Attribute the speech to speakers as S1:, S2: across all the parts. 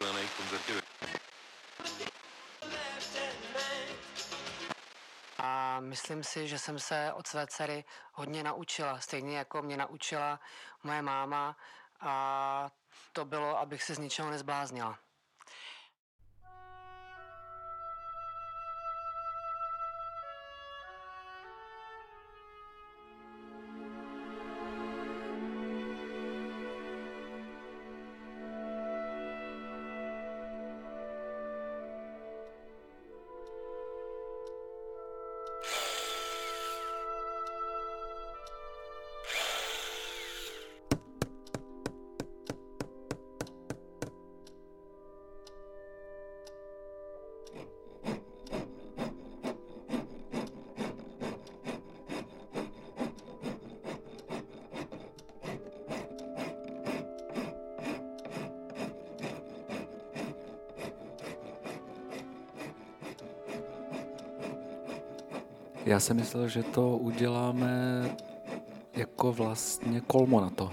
S1: na jejich koncertě.
S2: A myslím si, že jsem se od své dcery hodně naučila, stejně jako mě naučila moje máma a to bylo, abych se z ničeho nezbláznila.
S3: Já jsem myslel, že to uděláme jako vlastně kolmo na to.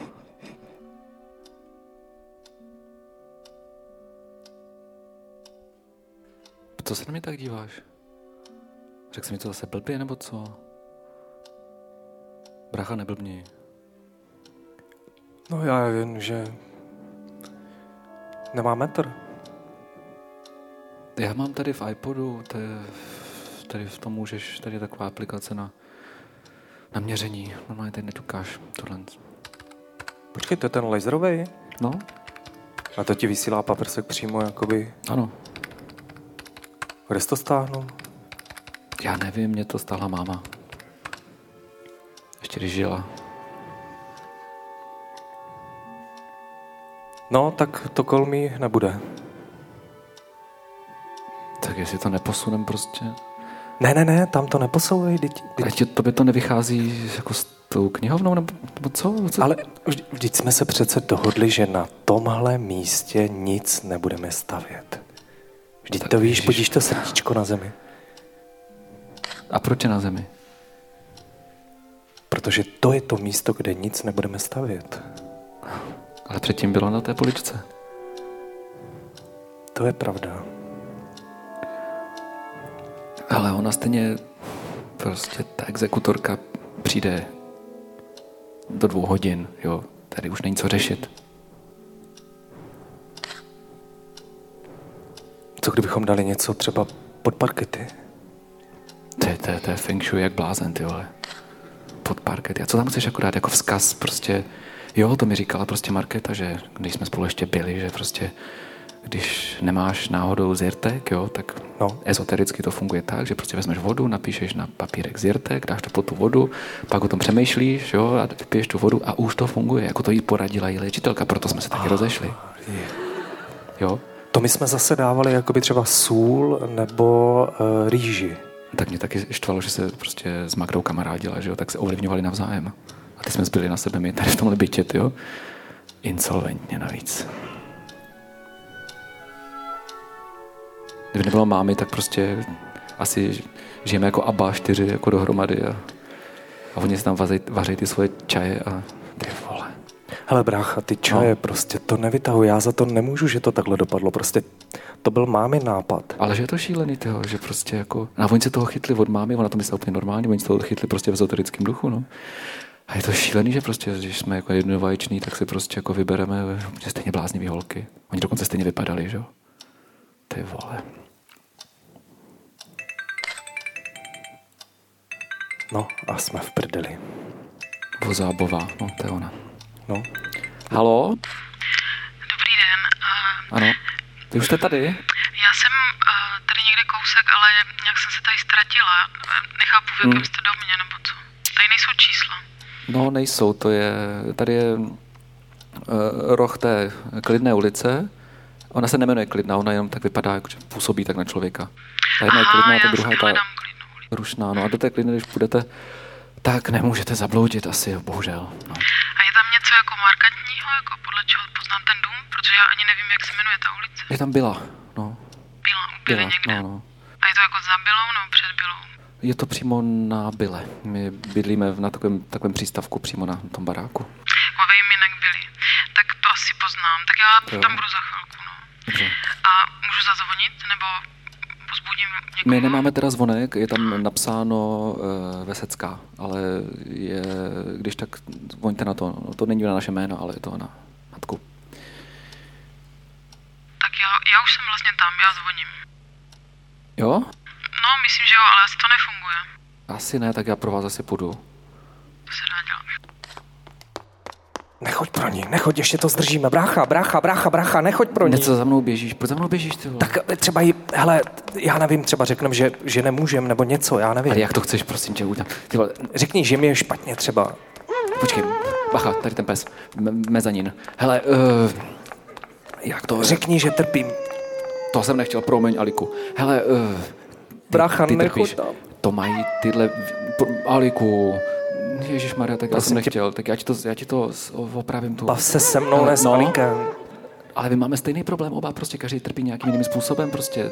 S3: Co se na mě tak díváš? Řekl jsi mi to zase blbě, nebo co? Bracha, neblbni.
S4: No já vím, že nemá metr.
S3: Já mám tady v iPodu, to je, tady v tom můžeš, tady je taková aplikace na, na měření. Normálně tady netukáš tohle.
S4: Počkej, to je ten laserový?
S3: No,
S4: A to ti vysílá paprsek přímo, jakoby,
S3: ano.
S4: kde jsi to stáhnul?
S3: Já nevím, mě to stála máma. Ještě když žila.
S4: No, tak to kolmí nebude.
S3: Tak jestli to neposunem prostě.
S4: Ne, ne, ne, tam to neposouvej, teď, teď.
S3: Teď ti- tobě to nevychází jako s tou knihovnou, nebo, nebo co? co?
S4: Ale vždy- vždyť jsme se přece dohodli, že na tomhle místě nic nebudeme stavět. Vždyť
S3: Tak
S4: to víš,
S3: ježiš.
S4: budíš to srdíčko na zemi.
S3: A proč je na zemi?
S4: Protože to je to místo, kde nic nebudeme stavět.
S3: Ale předtím bylo na té poličce.
S4: To je pravda.
S3: Ale ona stejně prostě ta exekutorka přijde do dvou hodin, jo. Tady už není co řešit.
S4: Co kdybychom dali něco třeba pod parkety?
S3: To je, to je, to je feng shui jak blázen, ty vole. Pod parket. A co tam chceš akorát jako vzkaz prostě, jo, to mi říkala prostě Markéta, že když jsme spolu ještě byli, že prostě když nemáš náhodou zirtek, jo, tak
S4: No.
S3: ezotericky to funguje tak, že prostě vezmeš vodu, napíšeš na papírek zirtek, dáš to pod tu vodu, pak o tom přemýšlíš, jo, a piješ tu vodu a už to funguje, jako to jí poradila i léčitelka, proto jsme se taky rozešli. Jo,
S4: To my jsme zase dávali jakoby třeba sůl nebo uh, rýži.
S3: tak mě taky štvalo, že se prostě s Magdou kamarádila, že jo, tak se ovlivňovali navzájem. A ty jsme zbyli na sebe my tady v tomhle bytě, ty jo. Insolventně navíc. Kdyby nebylo mámy, tak prostě asi žijeme jako ABBA čtyři jako dohromady a, a oni si tam vazej, vaří ty svoje čaje a ty vole.
S4: Hele brácha, ty čaje,
S3: No.
S4: no. prostě to nevytahu, já za to nemůžu, že to takhle dopadlo, prostě to byl mámy nápad.
S3: Ale že je to šílený, tyho, že prostě jako... A oni se toho chytli od mámy, ona to myslela úplně normálně, oni se toho chytli prostě v ezoterickém duchu, no. A je to šílený, že prostě, když jsme jako jednovaječní, tak si prostě jako vybereme úplně stejně bláznivý holky. Oni dokonce stejně vypadali, že jo? Ty vole.
S4: No a jsme v prdeli.
S3: Vozábová, no to je ona.
S4: No,
S3: Halo?
S5: Dobrý den. A
S3: Ano? Vy už jste tady?
S5: já jsem a, tady někde kousek, ale nějak jsem se tady ztratila. E, Nechápu, v
S3: Hmm.
S5: jakém jste domě nebo co. Tady nejsou čísla.
S3: No, nejsou, to je, tady je uh, roh té klidné ulice. Ona se nemenuje klidná, ona jenom tak vypadá, jako že působí tak na člověka. Ta jedna je klidná, ta
S5: já
S3: druhá je ta
S5: hledám klidnou ulici.
S3: rušná. No a do té klidny, když půjdete, tak nemůžete zabloudit asi, jo, bohužel. No.
S5: A je tam něco jako markantního, jako podle čeho poznám ten dům? Protože já ani nevím, jak se jmenuje ta ulice.
S3: Je tam byla, no,
S5: Byla, ubyly
S3: byla,
S5: někde.
S3: no, no.
S5: A je to jako za Bylou nebo před Bylou?
S3: Je to přímo na byle. My bydlíme v- na takovém, takovém přístavku přímo na tom baráku.
S5: Jako vejminek byly. Tak to asi poznám. Tak já
S3: Jo.
S5: tam budu za chvilku, no.
S3: Dobře.
S5: A můžu zazvonit, nebo pozbudím někoho?
S3: My nemáme teda zvonek, je tam napsáno uh, Vesecká, ale je, když tak voňte na to. No, to není na naše jméno, ale je to na matku.
S5: Tak já, já už jsem vlastně tam, já zvoním.
S3: Jo?
S5: No, myslím, že jo, ale asi to nefunguje.
S3: Asi ne, tak já pro vás asi půjdu.
S5: To se dá dělat.
S4: Nechoď pro ní, nechoď, ještě to zdržíme. Brácha, brácha, brácha, brácha, nechoď pro ní.
S3: Něco za mnou běžíš, proč za mnou běžíš ty vole?
S4: Tak eh, třeba jí, hele, já nevím, třeba řekneme, že, že nemůžem, nebo něco, já nevím.
S3: Ale jak to chceš, prosím tě, udělat? Ty vole,
S4: Řekni, že mi je špatně třeba.
S3: počkej, bacha, tady ten pes, me- mezanin. Hele, uh, jak to,
S4: Řekni, že trpím.
S3: to jsem nechtěl, promiň Aliku. Hele, uh,
S4: Brácha,
S3: ty
S4: nechoď
S3: trpíš,
S4: tam.
S3: to mají tyhle, pr- Aliku, Ježíš Maria, tak já
S4: Prosím
S3: jsem
S4: tě.
S3: nechtěl, tak já ti to, já ti to s- opravím tu.
S4: Bav se se mnou, ne s
S3: No.
S4: Alikem.
S3: Ale my máme stejný problém oba, prostě každý trpí nějakým jiným způsobem, prostě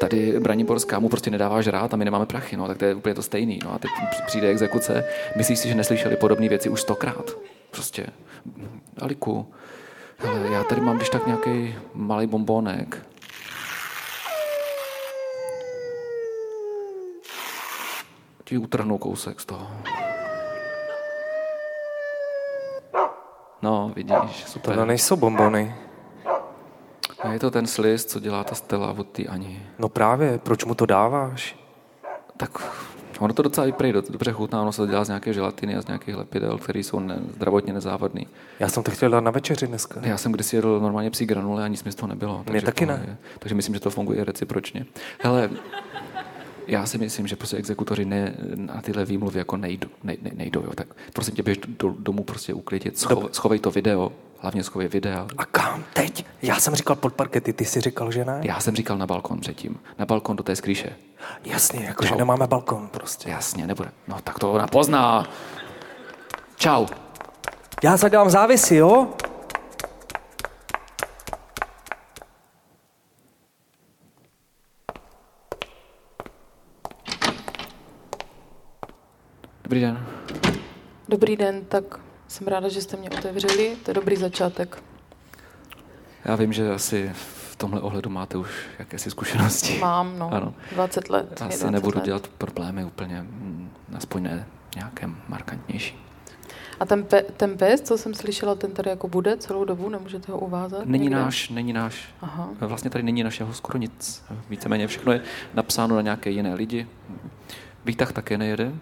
S3: tady Braniborská mu prostě nedáváš rád a my nemáme prachy, no, tak to je úplně to stejný, no, a teď při- přijde exekuce, myslíš si, že neslyšeli podobné věci už stokrát, prostě, Aliku, hele, já tady mám když tak nějaký malý bombonek, ti utrhnu kousek z toho. No, vidíš, super.
S4: To nejsou bombony.
S3: A je to ten sliz, co dělá ta Stella od té Ani.
S4: No právě, proč mu to dáváš?
S3: Tak ono to docela i prej, do- dobře chutná, ono se to dělá z nějaké želatiny a z nějakých lepidel, které jsou ne, zdravotně nezávadný.
S4: Já jsem to chtěl dát na večeři dneska.
S3: Já jsem kdysi jedl normálně psí granule a nic mi z toho nebylo. takže
S4: taky
S3: v pohodě.
S4: ne.
S3: Takže myslím, že to funguje recipročně. Hele, já si myslím, že prostě exekutoři ne, na tyhle výmluvy jako nejdu, nej, nej, nejdou. Jo. Tak prosím tě, běž do, domů prostě uklidit, scho, schovej to video, hlavně schovej videa.
S4: A kam teď? Já jsem říkal pod parkety, ty jsi říkal, že ne?
S3: Já jsem říkal na balkon předtím, na balkon do té skrýše.
S4: Jasně, jakože nemáme balkon prostě.
S3: Jasně, nebude. No tak to ona pozná. Čau.
S4: Já zadělám závisy, jo?
S3: Dobrý den.
S1: Dobrý den, tak jsem ráda, že jste mě otevřeli, to je dobrý začátek.
S3: Já vím, že asi v tomhle ohledu máte už jakési zkušenosti.
S1: Mám, no,
S3: Ano.
S1: ano. 20 let. je
S3: Asi
S1: 20
S3: nebudu
S1: let.
S3: dělat problémy úplně, mm, aspoň ne nějakém markantnější.
S1: A ten, pe- ten pes, co jsem slyšela, ten tady jako bude celou dobu, nemůžete ho uvázat?
S3: Není
S1: někde?
S3: náš, není náš.
S1: Aha.
S3: Vlastně tady není našeho skoro nic. Víceméně všechno je napsáno na nějaké jiné lidi. Výtah také nejede.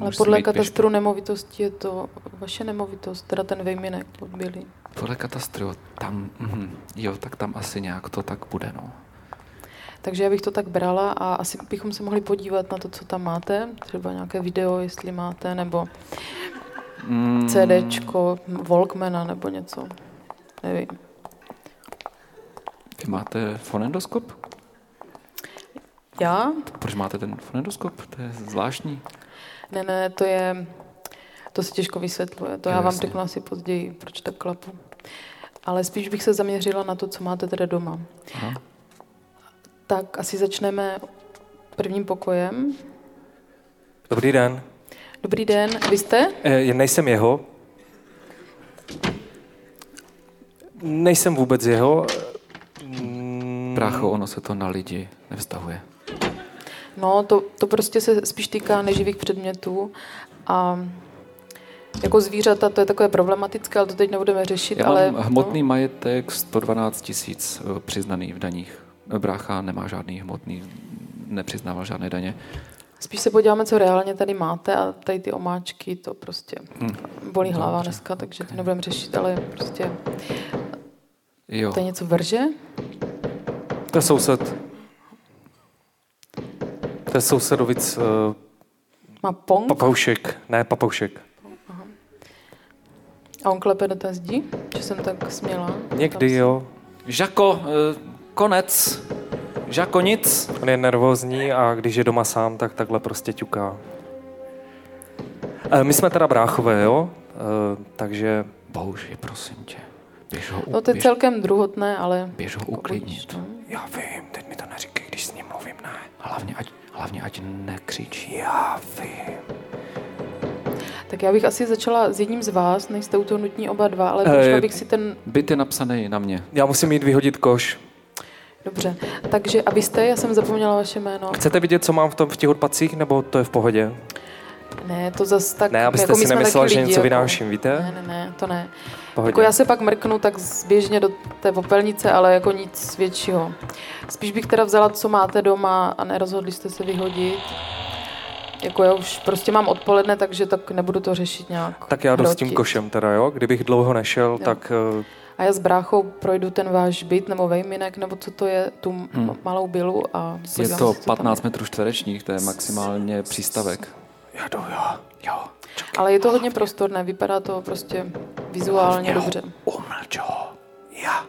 S1: Ale
S3: Musí
S1: podle
S3: být běž-
S1: katastru nemovitostí je to vaše nemovitost, teda ten vejminek pod Bělý.
S3: Podle katastru, tam, mhm, jo, tak tam asi nějak to tak bude, no.
S1: Takže já bych to tak brala a asi bychom se mohli podívat na to, co tam máte, třeba nějaké video, jestli máte, nebo
S3: Mm,
S1: CDčko, Walkmana nebo něco. Nevím.
S3: Vy máte fonendoskop?
S1: Já?
S3: Proč máte ten fonendoskop? To je zvláštní.
S1: Ne, ne, to je, to se těžko vysvětluje. To
S3: Jo,
S1: já vám
S3: No, jasně.
S1: řeknu asi později, proč tak klapu. Ale spíš bych se zaměřila na to, co máte teda doma.
S3: Aha.
S1: Tak asi začneme prvním pokojem.
S4: Dobrý den.
S1: Dobrý den, vy jste?
S4: E, nejsem jeho. Nejsem vůbec jeho.
S1: Hmm.
S4: Mm,
S3: Prácho, ono se to na lidi nevztahuje.
S1: No, to, to prostě se spíš týká neživých předmětů. A jako zvířata to je takové problematické, ale to teď nebudeme řešit.
S3: Já
S1: ale
S3: mám hmotný majetek 112 tisíc eh, přiznaný v daních. Eh, Brácha nemá žádný hmotný, nepřiznával žádné daně.
S1: Spíš se podíváme, co reálně tady máte a tady ty omáčky, to prostě bolí hlava dneska, takže to nebudeme řešit, ale prostě
S3: Jo,
S1: to je něco vrže.
S4: To je soused. To je sousedovic uh,
S1: Má pong
S4: papoušek. Ne, papoušek.
S1: a on klepe do té zdi, že jsem tak směla.
S4: Někdy jo.
S3: Žako, eh, konec. Žako, nic.
S4: On je nervózní a když je doma sám, tak takhle prostě ťuká. E, my jsme teda bráchové, jo? E, takže
S3: Bože, prosím tě. Běž ho,
S1: No
S3: u,
S1: to je
S3: běž,
S1: celkem druhotné, ale...
S3: běž ho
S1: Budíš,
S3: uklidnit.
S1: no.
S4: já vím, teď mi to neříkej, když s ním mluvím, ne.
S3: Hlavně ať, hlavně ať nekřičí.
S4: Já vím.
S1: Tak já bych asi začala s jedním z vás, nejste u toho nutní oba dva, ale prošla
S4: Eh,
S1: bych si ten...
S3: Byt je napsaný na mě.
S4: Já musím jít vyhodit koš.
S1: Dobře, takže a vy jste, já jsem zapomněla vaše jméno.
S4: Chcete vidět, co mám v, tom, v těch odpadcích, nebo to je v pohodě?
S1: Ne, to zas tak...
S4: Ne, abyste
S1: jako my
S4: si
S1: jsme
S4: nemyslela,
S1: taky
S4: že
S1: lidi,
S4: něco
S1: jako-
S4: vynáším,
S1: Ne,
S4: víte?
S1: ne, ne, to ne.
S4: V pohodě.
S1: Jako já se pak mrknu tak zběžně do té popelnice, ale jako nic většího. Spíš bych teda vzala, co máte doma a nerozhodli jste se vyhodit. Jako já už prostě mám odpoledne, takže tak nebudu to řešit nějak.
S4: Tak já jdu s tím
S1: hrotit.
S4: košem teda, jo? Kdybych dlouho nešel,
S1: Jo.
S4: tak eh,
S1: A já s bráchou projdu ten váš byt nebo vejminek, nebo co to je, tu hmm. malou bilu a...
S3: Je
S1: podívám
S3: to
S1: se, co tam
S3: 15 metrů čtverečních, to je maximálně přístavek.
S4: já jdu, jo. Jo.
S1: Ale je to hodně prostorné, vypadá to prostě vizuálně dobře.
S4: Umlč ho. Já.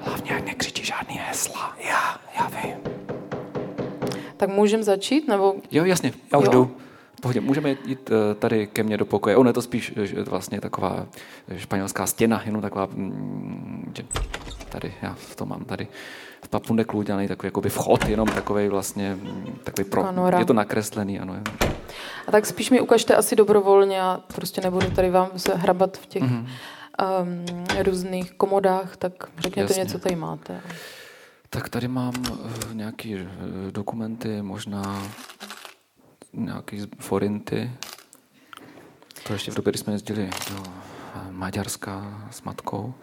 S4: Hlavně, ať nekřičí žádný hesla. Já, já vím.
S1: Tak můžeme začít, nebo
S3: Jo, jasně.
S4: Já už
S1: Jo.
S4: jdu.
S3: V Pohodě, můžeme jít eh, tady ke mně do pokoje. Ono je to spíš eh, že vlastně taková španělská stěna, jenom taková, mm, že tady, já to mám tady v papundeku udělaný takový jakoby vchod, jenom takový vlastně, mm, takový pro,
S1: Kanora.
S3: je to nakreslený, ano. Je.
S1: A tak spíš mi ukažte asi dobrovolně, já prostě nebudu tady vám se hrabat v těch
S3: Mhm.
S1: mm-hmm. um, různých komodách, tak řekněte
S3: Jasně.
S1: Jasně. něco tady máte.
S3: Tak tady mám eh, nějaký eh, dokumenty, možná nějaký z- forinty. To ještě v době, kdy jsme jezdili do eh, Maďarska s matkou.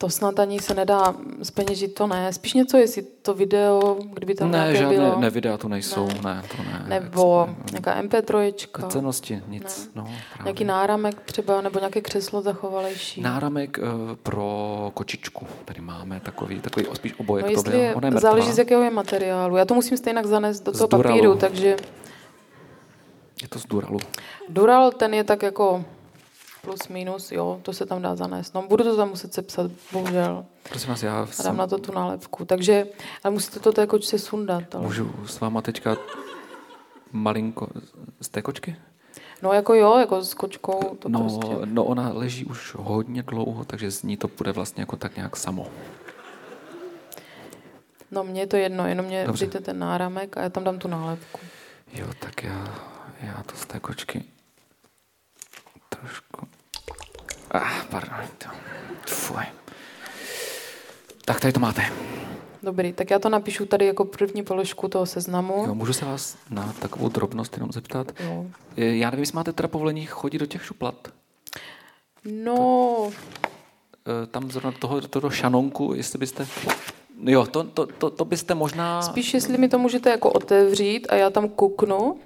S1: To snad ani se nedá zpeněžit, to ne. Spíš něco, jestli to video, kdyby tam
S3: ne,
S1: nějaké
S3: žádné,
S1: bylo.
S3: ne, videa tu nejsou, ne, ne
S1: Ne.
S3: to ne. eh,
S1: nebo nějaká MP3,
S3: Cenosti, nic. No, právě.
S1: nějaký náramek třeba, nebo nějaké křeslo zachovalejší.
S3: Náramek eh, pro kočičku. Tady máme takový, takový spíš obojek.
S1: No
S3: to
S1: jestli
S3: byl.
S1: je,
S3: Ona jako je mrtvá.
S1: záleží z jakého je materiálu. Já to musím stejně zanést do
S3: Z
S1: toho
S3: duralu.
S1: papíru, takže
S3: Je to z Duralu.
S1: Dural, ten je tak jako plus minus, jo, to se tam dá zanést. No, budu to tam muset sepsat, bohužel.
S3: Prosím vás, já
S1: A dám
S3: jsem,
S1: na to tu nálepku. Takže, ale musíte to té kočce sundat. Ale.
S3: můžu s váma teďka malinko z té kočky?
S1: No jako jo, jako s kočkou to no,
S3: no,
S1: prostě.
S3: no, ona leží už hodně dlouho, takže z ní to bude vlastně jako tak nějak samo.
S1: No mně je to jedno, jenom mě
S3: Dobře.
S1: dejte ten náramek a já tam dám tu nálepku.
S3: Jo, tak já, já to z té kočky trošku... Ah, pardon. to- Fuj. Tak tady to máte.
S1: Dobrý, tak já to napíšu tady jako první položku toho seznamu.
S3: Jo, můžu se vás na takovou drobnost jenom zeptat?
S1: Jo.
S3: E, Já nevím, jestli máte teda povolení chodit do těch šuplat.
S1: No,
S3: E, Tam zrovna toho, toho šanonku, jestli byste... Jo, to, to, to, to byste možná...
S1: spíš jestli mi to můžete jako otevřít a já tam kuknu.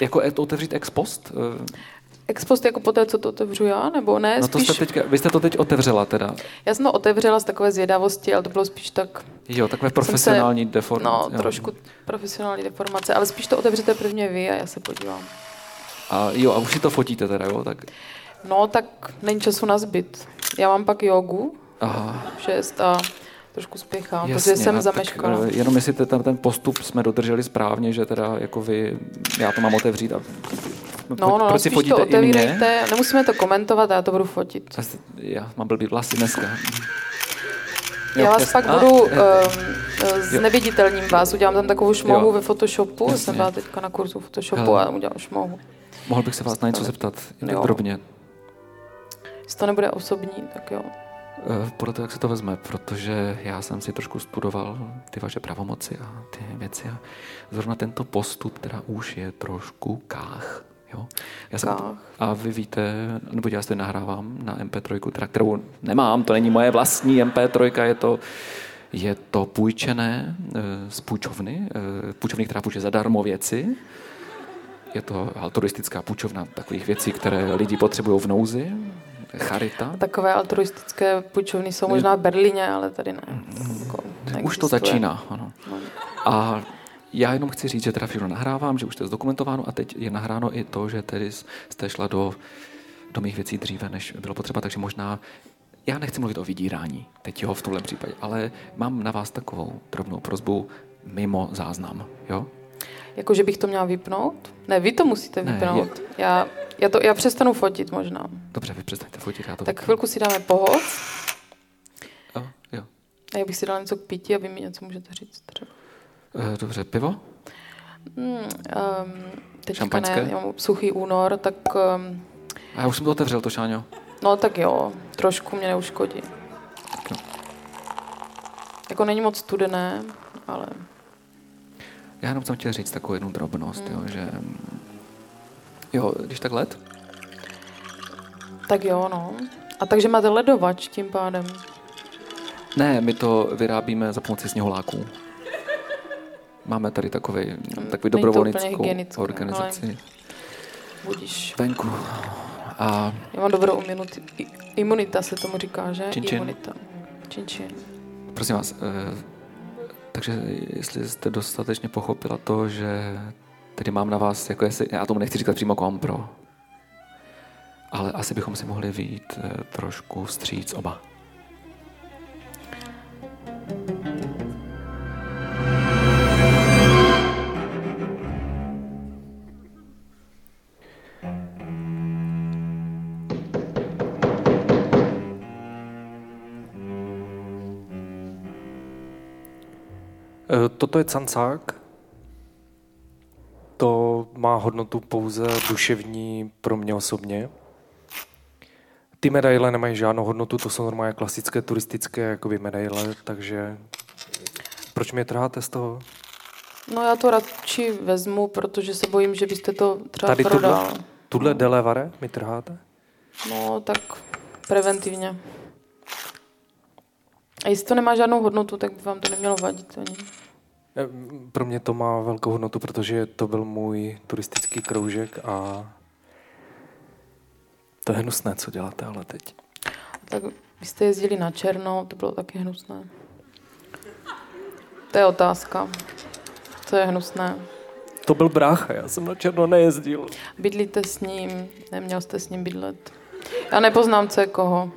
S3: Jako e- otevřít ex post? E,
S1: Ex post jako poté, co to otevřu já, nebo ne?
S3: No to
S1: spíš...
S3: jste teďka, vy jste to teď otevřela teda.
S1: Já jsem to otevřela z takové zvědavosti, ale to bylo spíš tak...
S3: Jo, takové
S1: jsem
S3: profesionální
S1: se-
S3: deformace.
S1: No,
S3: jo.
S1: trošku profesionální deformace, ale spíš to otevřete prvně vy a já se podívám.
S3: A jo, a už si to fotíte teda, jo? Tak,
S1: No, tak není času na zbyt. Já mám pak jogu
S3: aha,
S1: v šest a trošku spěchám,
S3: jasně,
S1: No, protože jsem
S3: a
S1: zameškala. No,
S3: Tak, eh, jenom jestli te- ten, ten postup jsme dodrželi správně, že teda jako vy, já to mám otevřít a
S1: no, no, no,
S3: proč si
S1: spíš
S3: fotíte
S1: to
S3: i mě?
S1: otevírejte, nemusíme to komentovat, já to budu fotit.
S3: Zas- Já mám blbý vlasy dneska.
S1: já vás
S3: jasně.
S1: pak
S3: A,
S1: budu
S3: eh,
S1: um, zneviditelním vás, udělám tam takovou šmohu
S3: Jo.
S1: ve Photoshopu,
S3: Jasně.
S1: jsem byla teďka na kurzu Photoshopu
S3: Hele.
S1: a udělám šmohu.
S3: Mohl bych se vás na něco zeptat, jen tak
S1: Jo.
S3: drobně.
S1: Jestli to nebude osobní, tak jo.
S3: Eh, Podle toho, jak se to vezme, protože já jsem si trošku studoval ty vaše pravomoci a ty věci a zrovna tento postup teda už je trošku kách. Jo? Já jsem
S1: Kách.
S3: A vy víte, nebo já se nahrávám na MP3, teda, kterou nemám, to není moje vlastní MP3, je to, je to půjčené eh, z půjčovny, eh, půjčovny, která půjče zadarmo věci. Je to altruistická půjčovna takových věcí, které lidi potřebují v nouzi. Charita.
S1: Takové altruistické půjčovny jsou možná v Berlíně, ale tady ne. Jako
S3: Už to
S1: neexistuje.
S3: začíná, ano. A já jenom chci říct, že teda všechno nahrávám, že už to je zdokumentováno a teď je nahráno i to, že tedy jste šla do, do mých věcí dříve, než bylo potřeba, takže možná já nechci mluvit o vydírání, teď jo, v tomhle případě, ale mám na vás takovou drobnou prozbu mimo záznam, jo?
S1: Jako, že bych to měla vypnout? Ne, vy to musíte
S3: Ne,
S1: vypnout. já, já, to, já přestanu fotit možná.
S3: Dobře, vy přestaňte fotit, já to...
S1: Tak chvilku si dáme pohod.
S3: Jo, jo.
S1: A já bych si dala něco k pití a vy mi něco můžete říct třeba.
S3: E, dobře, pivo?
S1: Hmm, um, teďka
S3: Šampaňské?
S1: ne, já mám suchý únor, tak... Um,
S3: A já už jsem to otevřel, to šáňo.
S1: no tak jo, trošku mě neuškodí.
S3: Tak jo.
S1: Jako není moc studené, ale
S3: Já jenom jsem chtěl říct takovou jednu drobnost,
S1: Hmm.
S3: jo, že... mm, Jo, když tak let,
S1: tak jo, no. A takže máte ledovač tím pádem.
S3: Ne, my to vyrábíme za pomoci sněholáků. Máme tady takový, takový
S1: Mm, to úplně
S3: dobrovolnickou
S1: hygienické, no,
S3: organizaci
S1: ale- Budíš.
S3: venku. A
S1: Já mám dobrou imunitu. i- Imunita se tomu říká, že?
S3: Čin, čin.
S1: Imunita. Čin, čin.
S3: prosím vás, eh, takže jestli jste dostatečně pochopila to, že tedy mám na vás, jako jestli, já tomu nechci říkat přímo kompro, ale asi bychom si mohli vyjít eh, trošku vstříc oba.
S4: E, Toto je cancák. To má hodnotu pouze duševní pro mě osobně. Ty medaile nemají žádnou hodnotu, to jsou normálně klasické turistické jakoby medaile, takže proč mě trháte z toho?
S1: No já to radši vezmu, protože se bojím, že byste to třeba
S4: Tady
S1: prodal.
S4: tuhle, tuhle delevare mi trháte?
S1: No, tak preventivně. A jestli to nemá žádnou hodnotu, tak by vám to nemělo vadit ani.
S4: Ehm, Pro mě to má velkou hodnotu, protože to byl můj turistický kroužek a to je hnusné, co děláte ale teď.
S1: Tak vy jste jezdili na černo, to bylo taky hnusné. To je otázka. Co je hnusné?
S4: To byl brácha, já jsem na černo nejezdil.
S1: Bydlíte s ním, neměl jste s ním bydlet. Já nepoznám, co je koho.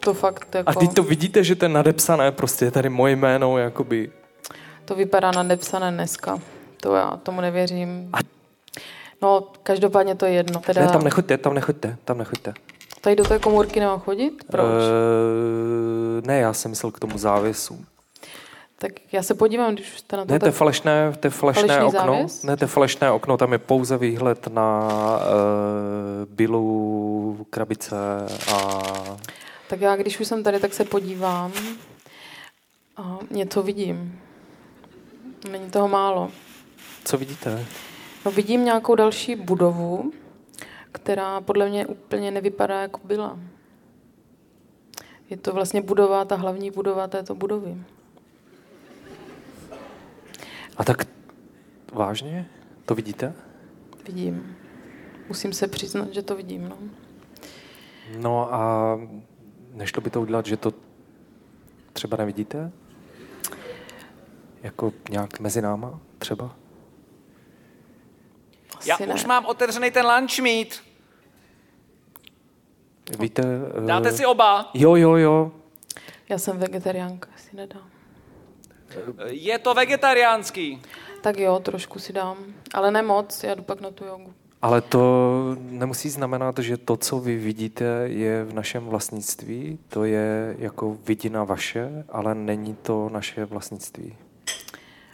S1: To fakt jako...
S4: A teď to vidíte, že to je nadepsané, prostě je tady moje jméno, jakoby.
S1: To vypadá na nepsané dneska. To já tomu nevěřím. No, každopádně to je jedno. Teda,
S4: Ne, tam nechoďte, tam nechoďte, tam nechoďte.
S1: tady do té komůrky nemám chodit? Proč?
S4: Eh, ne, já jsem myslel k tomu závěsu.
S1: Tak já se podívám, když už jste na to.
S4: Ne, to je
S1: No tak...
S4: falešné, to je falešné
S1: Falešný
S4: okno.
S1: závěs?
S4: Ne, to je falešné okno, tam je pouze výhled na uh, bylu, krabice a...
S1: tak já, když už jsem tady, tak se podívám. A něco vidím. Není toho málo.
S4: Co vidíte?
S1: No, vidím nějakou další budovu, která podle mě úplně nevypadá, jako byla. Je to vlastně budova, ta hlavní budova této budovy.
S4: A tak vážně? To vidíte?
S1: Vidím. Musím se přiznat, že to vidím. No.
S4: No a nešlo by to udělat, že to třeba nevidíte? Jako nějak mezi náma třeba?
S6: Já
S1: Asi
S6: už
S1: ne.
S6: mám otevřený ten lunch meet.
S4: Víte? eh,
S6: No, Dáte si oba.
S4: Jo, jo, jo.
S1: Já jsem vegetariánka, si nedám.
S6: Je to vegetariánský.
S1: Tak jo, trošku si dám, ale ne moc, já jdu pak na tu jogu.
S4: Ale to nemusí znamenat, že to, co vy vidíte, je v našem vlastnictví. To je jako vidina vaše, ale není to naše vlastnictví.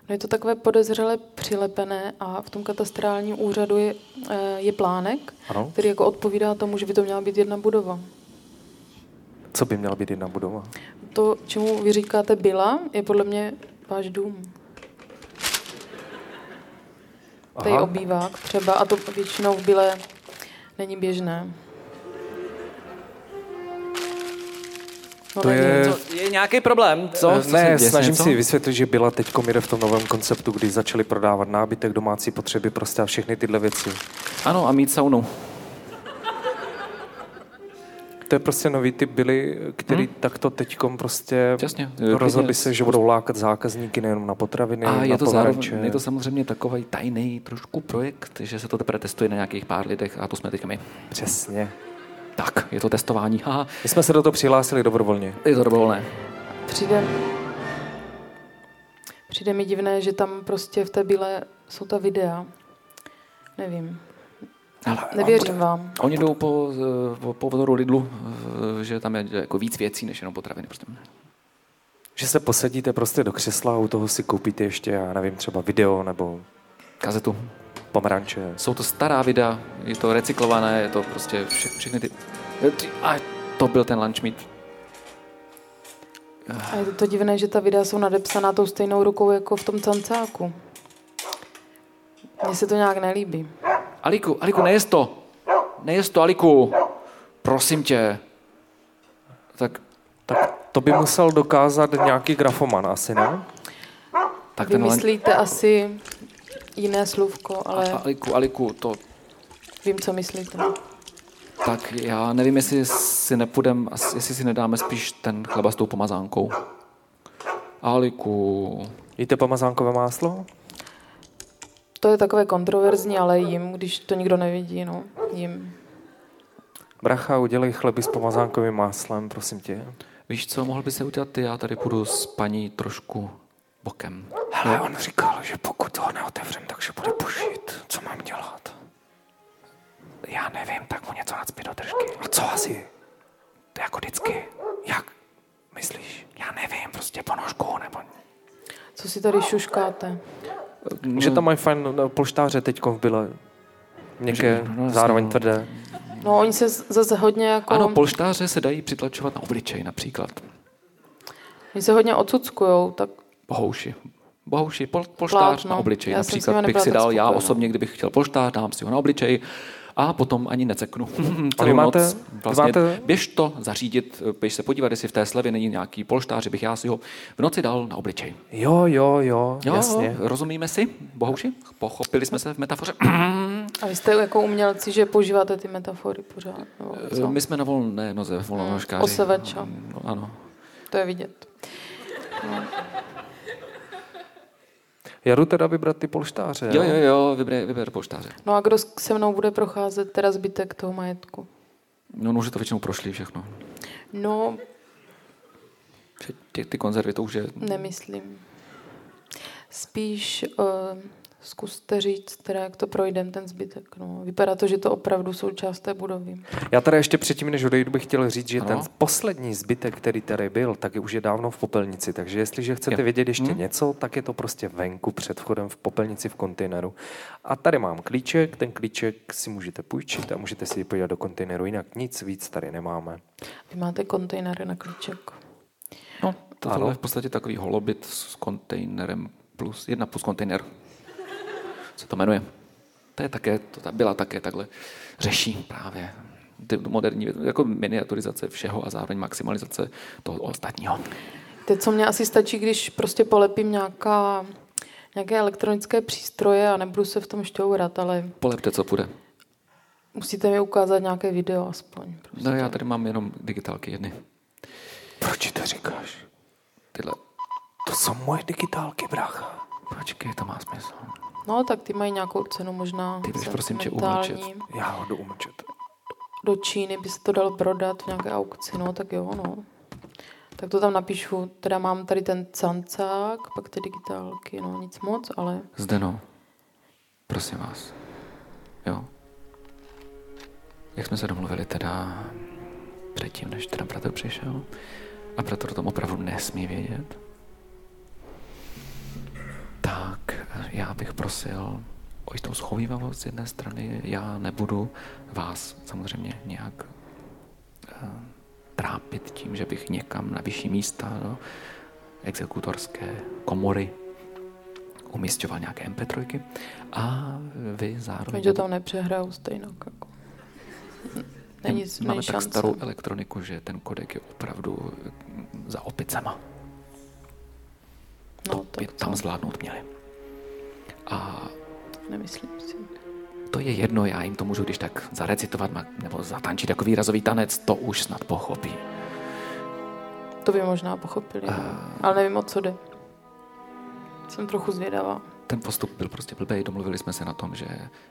S1: No je to takové podezřele přilepené a v tom katastrálním úřadu je, eh, je plánek,
S4: Ano.
S1: který jako odpovídá tomu, že by to měla být jedna budova.
S4: Co by měla být jedna budova?
S1: To, čemu vy říkáte byla, je podle mě váš dům. Tady
S4: Aha.
S1: obývák třeba a to většinou v byle není běžné. No,
S4: To
S1: není.
S4: je-
S6: Co, je nějaký problém, co?
S4: Eh, ne,
S3: se děje?
S4: snažím
S3: Něco?
S4: si vysvětlit, že byla teď jde v tom novém konceptu, kdy začali prodávat nábytek, domácí potřeby prostě a všechny tyhle věci.
S3: Ano, a mít saunu.
S4: To je prostě nový typ byly, který hmm. takto teďkom prostě
S3: Jasně.
S4: rozhodli
S3: Klidně.
S4: se, že budou lákat zákazníky nejenom na potraviny,
S3: A
S4: na
S3: je to,
S4: pomeranče.
S3: zároveň, je to samozřejmě takový tajný trošku projekt, že se to teprve testuje na nějakých pár lidech a to jsme teďka my.
S4: Přesně.
S3: Tak, je to testování, haha,
S4: My jsme se do toho přihlásili dobrovolně.
S3: je to dobrovolné.
S1: Přijde, přijde mi divné, že tam prostě v té bílé jsou ta videa. Nevím.
S3: Ale
S1: Nevěřím vám.
S3: Oni jdou po, eh, po, po vzoru Lidlu, eh, že tam je jako víc věcí, než jenom potraviny. Prostě.
S4: Že se posadíte prostě do křesla a u toho si koupíte ještě, já nevím, třeba video nebo
S3: Kazetu.
S4: pomeranče.
S3: Jsou to stará videa, je to recyklované, je to Eh, prostě vše, všechny ty... A to byl ten lunch meet.
S1: A je to divné, že ta videa jsou nadepsaná tou stejnou rukou jako v tom cancáku. Mně se to nějak nelíbí.
S3: Aliku, Aliku, nejez to. Nejez to, Aliku. Prosím tě. Tak,
S4: Tak to by musel dokázat nějaký grafoman asi, ne?
S3: tak
S1: Vy
S3: ten lan-
S1: myslíte asi jiné slůvko, ale
S3: A- Aliku, Aliku, to,
S1: vím, co myslíte.
S3: tak já nevím, jestli si nepůjdem, as- jestli si nedáme spíš ten chleba s tou pomazánkou. Aliku.
S4: Jíte pamazánkové máslo?
S1: To je takové kontroverzní, ale jim, když to nikdo nevidí, no, jim.
S4: Bracha, udělej chleby s pomazánkovým máslem, prosím tě.
S3: Víš co, mohl by se udělat ty, já tady půjdu s paní trošku bokem.
S4: Hele, on říkal, že pokud ho neotevřem, takže bude pušit. Co mám dělat? Já nevím, tak mu něco nadspí do držky. A co asi? To jako vždycky. Jak? Myslíš? Já nevím, prostě ponožkou nebo...
S1: Co si tady šuškáte?
S4: Že tam mají fajn no, polštáře teď v byle. Měkké,
S3: No, jasně,
S4: zároveň
S3: no.
S4: tvrdé.
S1: No, oni se z- zase hodně jako...
S3: Ano, polštáře se dají přitlačovat na obličej například.
S1: Oni se hodně odsuckujou, tak
S3: Bohouši. Bohouši, pol, polštář
S1: Plátno.
S3: na obličej.
S1: Já jsem s
S3: Například
S1: nima
S3: bych
S1: nebyla
S3: si
S1: tak
S3: dal já
S1: spokojená.
S3: osobně, kdybych chtěl polštář, dám si ho na obličej a potom ani neceknu. Celou
S4: máte-
S3: noc.
S4: vy
S3: Vlastně
S4: máte-
S3: běž to zařídit, běž se podívat, jestli v té slevě není nějaký polštář, že bych já si ho v noci dal na obličej.
S4: Jo, jo, jo,
S3: Jo,
S4: jasně.
S3: rozumíme si, Bohouši? Pochopili jsme se v metafoře? Eh,
S1: a vy jste jako umělci, že používáte ty metafory pořád, nebo co?
S3: Eh, My jsme na volné noze, volnožkáři.
S1: Osevač, jo.
S3: No, ano.
S1: To je vidět.
S4: Já jdu teda vybrat ty polštáře.
S3: Jo, jo, jo, vyber, vyber polštáře.
S1: No a kdo s- se mnou bude procházet teda zbytek toho majetku?
S3: No, no, že to většinou prošli všechno.
S1: No,
S3: Že Ty, ty konzervy, to už je...
S1: nemyslím. Spíš uh, zkuste říct, teda jak to projdem, ten zbytek. No. Vypadá to, že to opravdu jsou část té budovy.
S4: Já tady ještě předtím, než odejdu, bych chtěl říct, že
S3: Ano.
S4: ten poslední zbytek, který tady byl, tak je už je dávno v popelnici. Takže jestliže chcete
S3: Jo.
S4: vědět ještě něco, tak je to prostě venku před vchodem v popelnici v kontejneru. A tady mám klíček, ten klíček si můžete půjčit a můžete si ji podívat do kontejneru, jinak nic víc tady nemáme.
S1: Vy máte kontejnery na klíček.
S3: No, to
S4: Ano.
S3: tohle je v podstatě takový holobit s kontejnerem plus, jedna plus kontejner. Co to jmenuje? To je také, to ta, byla také takhle, řeší právě ty moderní, věc- jako miniaturizace všeho a zároveň maximalizace toho ostatního.
S1: Teď, co mě asi stačí, když prostě polepím nějaká, nějaké elektronické přístroje a nebudu se v tom šťourat, ale
S3: Polepte, co půjde.
S1: musíte mi ukázat nějaké video aspoň. Prostě.
S3: No já tady mám jenom digitálky jedny.
S4: Proč to říkáš?
S3: Tyhle.
S4: To jsou moje digitálky, brácha.
S3: Počkej, to má smysl.
S1: No, tak ty mají nějakou cenu možná.
S3: Ty budeš, prosím tě,
S1: sentimentální.
S3: umlčet.
S4: Já ho jdu umlčet.
S1: Do Číny by se to dalo prodat v nějaké aukci, no, tak jo, no. Tak to tam napíšu. Teda mám tady ten cancák, pak ty digitálky, no nic moc, ale
S3: Zdeno, no. prosím vás. Jo. Jak jsme se domluvili teda předtím, než teda bratr přišel. A bratr o tom opravdu nesmí vědět. Tak, já bych prosil o jistou schovývavost z jedné strany. Já nebudu vás samozřejmě nějak eh, trápit tím, že bych někam na vyšší místa, no, exekutorské komory umisťoval nějaké MP3 a vy zároveň...
S1: oni to tam nepřehrajou stejně. Jako. Není,
S3: Máme
S1: není
S3: tak
S1: šance. No,
S3: starou elektroniku, že ten kodek je opravdu eh, za opicema.
S1: No,
S3: By
S1: tak
S3: tam zvládnout měli. A
S1: nemyslím si.
S3: to je jedno, já jim to můžu když tak zarecitovat ma- nebo zatančit jako výrazový tanec, to už snad pochopí.
S1: To by možná pochopili, no.
S3: Eh.
S1: ale nevím, o co jde. Jsem trochu zvědavá.
S3: Ten postup byl prostě blbej, domluvili jsme se na tom, že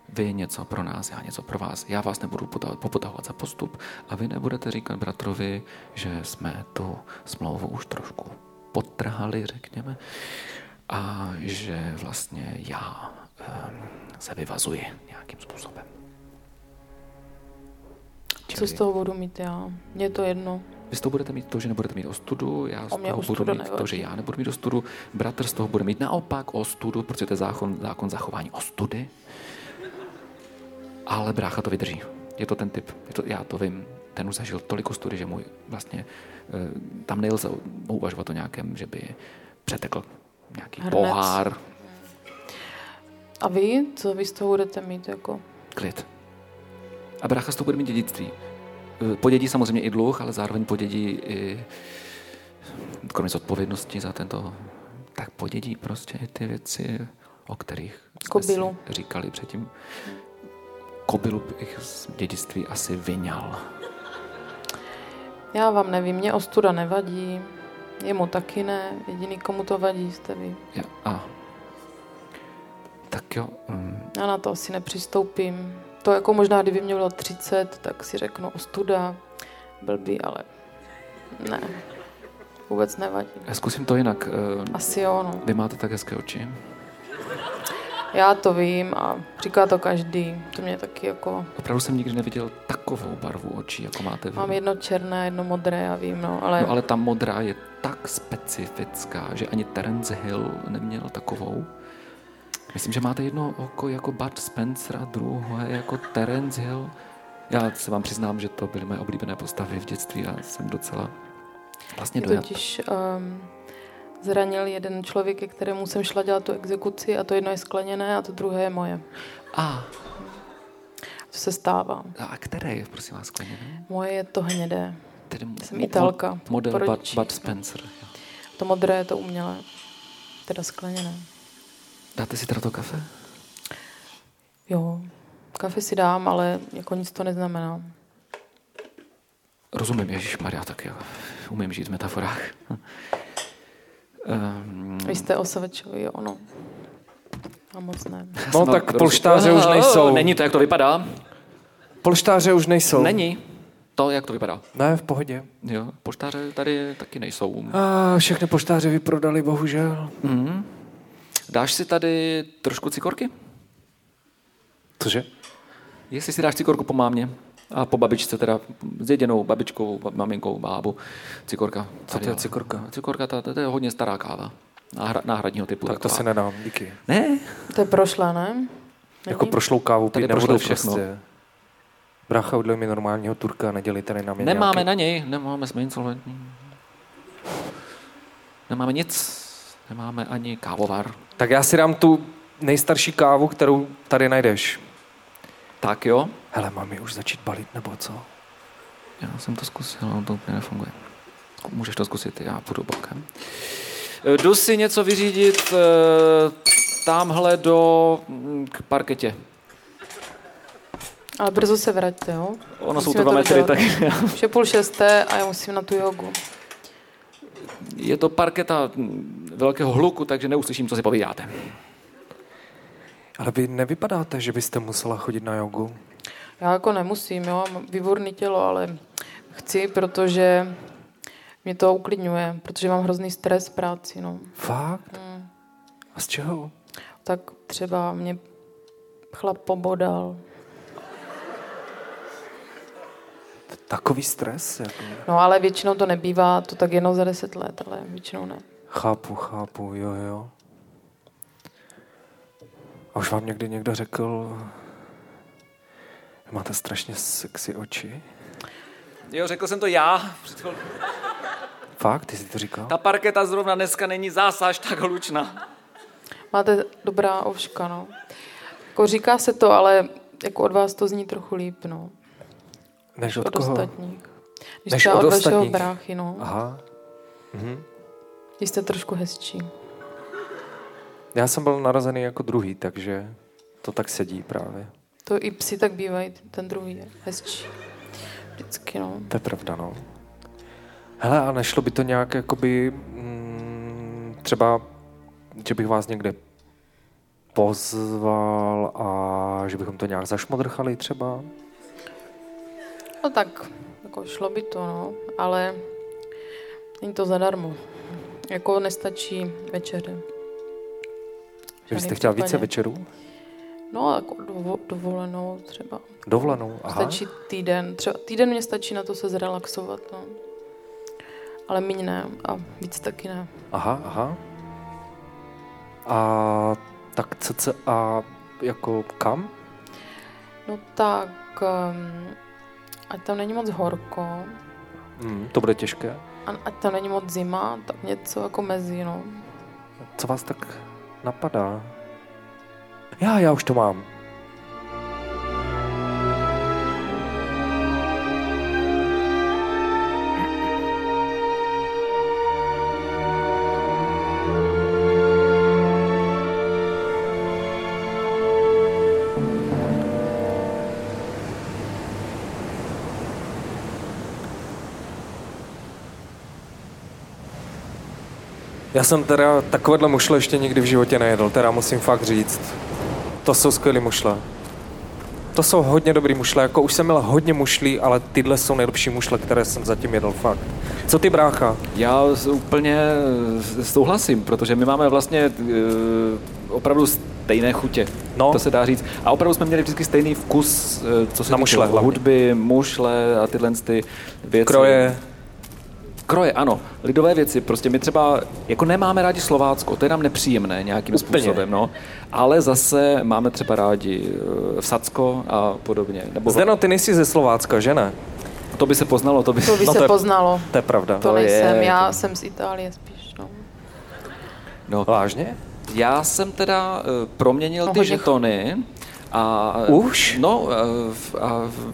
S3: vy něco pro nás, já něco pro vás, já vás nebudu pota- popotahovat za postup a vy nebudete říkat bratrovi, že jsme tu smlouvu už trošku potrhali, řekněme, a že vlastně já um, se vyvazuji nějakým způsobem.
S1: Co z toho budu mít já? Mně to jedno.
S3: Vy z toho budete mít to, že nebudete mít ostudu, já z
S1: O mě
S3: toho budu
S1: ostuda
S3: mít to,
S1: nevadí.
S3: že já nebudu mít ostudu, bratr z toho bude mít naopak ostudu, protože to je zákon, zákon zachování ostudy. Ale brácha to vydrží. Je to ten typ. Je to, já to vím. ten už zažil tolik studií, že mu vlastně eh, tam nelze uvažovat o nějakém, že by přetekl nějaký
S1: Hrnec.
S3: pohár,
S1: A vy, co vy z toho budete mít? Jako?
S3: klid. A brácha z toho bude mít dědictví. Eh, Podědí samozřejmě i dluh, ale zároveň podědí i kromě zodpovědnosti za tento, tak podědí prostě i ty věci, o kterých jsme
S1: Kobylu.
S3: si říkali předtím. Kobylu bych z dědictví asi vyňal.
S1: Já vám nevím, mě ostuda nevadí, jemu taky ne, jediný, komu to vadí, jste vy.
S3: Ja, a. Tak jo, mm,
S1: Já na to asi nepřistoupím. To jako možná, kdyby mě bylo 30, tak si řeknu ostuda, blbý, ale ne, vůbec nevadí.
S3: já zkusím to jinak. eh,
S1: Asi jo, no.
S3: Vy máte tak hezké oči.
S1: Já to vím a říká to každý. To mě taky jako...
S3: Opravdu jsem nikdy neviděl takovou barvu očí, jako máte vy.
S1: Mám jedno černé, jedno modré, já vím, no,
S3: No
S1: ale...
S3: ale ta modrá je tak specifická, že ani Terence Hill neměl takovou. Myslím, že máte jedno oko jako Bud Spencer a druhé jako Terence Hill. Já se vám přiznám, že to byly mé oblíbené postavy v dětství a jsem docela vlastně
S1: Mě
S3: dojat.
S1: totiž um, zranil jeden člověk, ke kterému jsem šla dělat tu exekuci a to jedno je skleněné a to druhé je moje.
S3: A,
S1: To se stává.
S3: a které je, prosím vás, skleněné?
S1: Moje je to hnědé.
S3: Tedy mo-
S1: Jsem
S3: mo-
S1: Italka,
S3: Model
S1: po
S3: Bud,
S1: rodičích.
S3: Bud Spencer. jo.
S1: To modré je to umělé. Teda skleněné.
S3: Dáte si teda to kafe?
S1: Jo, kafe si dám, ale jako nic to neznamená.
S3: Rozumím, Ježíš Maria, tak já umím žít v metaforách. Ehm,
S1: Vy jste osvečovi, jo, no. A moc ne.
S4: No tak polštáře už nejsou.
S3: Není to, jak to vypadá.
S4: Polštáře už nejsou.
S3: Není to, jak to vypadá.
S4: Ne, v pohodě.
S3: Jo, poštáře tady taky nejsou.
S4: A všechny poštáře vyprodali, bohužel. Mhm.
S3: Dáš si tady trošku cikorky?
S4: Cože?
S3: Jestli si dáš cikorku po mámě a po babičce, teda s jedinou babičkou, ba- maminkou, bábu, cikorka. Co
S4: to je cikorka?
S3: Cikorka, to, to je hodně stará káva. Náhra, náhradního typu.
S4: Tak to
S3: taková.
S4: se nedám, díky. Není?
S3: Ne,
S1: To je prošla, ne?
S4: Jako prošlou kávu
S3: Tady
S4: pít nebudu
S3: prošlou všechno.
S4: prostě. Brácha, udělej mi normálního Turka, nedělejte tady na mě
S3: nemáme
S4: nějaký...
S3: na něj, nemáme, jsme insolventní. Nemáme nic, nemáme ani kávovar.
S4: Tak já si dám tu nejstarší kávu, kterou tady najdeš.
S3: Tak jo,
S4: Hele, mám ji už začít balit, nebo co?
S3: Já jsem to zkusil, ale to úplně nefunguje. Můžeš to zkusit, já půjdu bokem. Eh, Jdu si něco vyřídit eh, tamhle do mm, k parketě.
S1: Ale brzo se vraťte, jo?
S3: Ono jsou
S1: Musíme
S3: to dva metry,
S1: dodělat.
S3: tak
S1: Už je půl šesté a já musím na tu jogu.
S3: je to parketa mm, velkého hluku, takže neuslyším, co si povídáte.
S4: Ale vy nevypadáte, že byste musela chodit na jogu.
S1: Já jako nemusím, jo, mám výborné tělo, ale chci, protože mě to uklidňuje, protože mám hrozný stres v práci, no.
S4: Fakt?
S3: Hmm.
S4: A z čeho?
S1: Tak třeba mě chlap pobodal.
S4: Takový stres? Jako.
S1: No ale většinou to nebývá, to tak jenom za deset let, ale většinou ne.
S4: Chápu, chápu, jo, jo. A už vám někdy někdo řekl, že máte strašně sexy oči?
S6: Jo, řekl jsem to já.
S4: Fakt, ty jsi to říkal?
S6: Ta parketa zrovna dneska není zase až tak hlučná.
S1: Máte dobrá ovška, no. Jako říká se to, ale jako od vás to zní trochu líp, no.
S4: Než od
S1: Od
S4: koho?
S1: ostatních. Když
S4: Než
S1: třeba
S4: od
S1: od, vašeho
S4: ostatních.
S1: bráchy, no.
S4: Aha.
S1: Vy jste trošku hezčí.
S4: Já jsem byl narozený jako druhý, takže to tak sedí právě.
S1: To i psi tak bývají, ten druhý je hezčí. Vždycky, no.
S4: To je pravda, no. Hele, a nešlo by to nějak, jakoby, mm, třeba, že bych vás někde pozval a že bychom to nějak zašmodrchali třeba?
S1: No tak, jako šlo by to, no, ale není to zadarmo. Jako nestačí večeře.
S4: Že byste
S1: žádném
S4: chtěl více
S1: případě.
S4: večerů?
S1: No, jako dovo- dovolenou třeba.
S4: Dovlanou, aha.
S1: Stačí týden. Třeba týden mě stačí na to se zrelaxovat, no. Ale míň ne a víc taky ne.
S4: Aha, aha. A tak cca jako kam?
S1: No tak, um, Ať tam není moc horko,
S4: Mm, to bude těžké.
S1: a ať tam není moc zima, tak něco jako mezi, no.
S4: Co vás tak napadá? Já, já už to mám. Já jsem teda takovéhle mušle ještě nikdy v životě nejedl, teda musím fakt říct. To jsou skvělé mušle. To jsou hodně dobrý mušle, jako už jsem měl hodně mušlí, ale tyhle jsou nejlepší mušle, které jsem zatím jedl, fakt. Co ty brácha?
S3: Já s- úplně s- souhlasím, protože my máme vlastně eh, opravdu stejné chutě.
S4: No.
S3: To se dá říct. A opravdu jsme měli vždycky stejný vkus, eh, co se
S4: Na
S3: týče
S4: mušle hlavně.
S3: hudby, mušle a tyhle ty věci.
S4: Kroje,
S3: Kroje, ano. Lidové věci. Prostě my třeba jako nemáme rádi Slovácko, to je nám nepříjemné nějakým
S4: Úplně.
S3: způsobem, no. Ale zase máme třeba rádi eh, Vsacko a podobně. Nebo
S4: Zdeno, ty nejsi ze Slovácka, že ne?
S3: to by se poznalo, to by
S1: To
S4: No
S1: by no
S4: to
S1: se
S4: je-
S1: poznalo.
S4: To je jako- pravda.
S1: To
S3: to je,
S1: nejsem,
S3: to-
S1: já jsem z Itálie spíš, no.
S3: No,
S4: Vážně?
S3: já jsem teda eh, proměnil
S1: No,
S3: ty
S1: hodně
S3: žetony a...
S4: Už?
S3: No, eh, v- a v-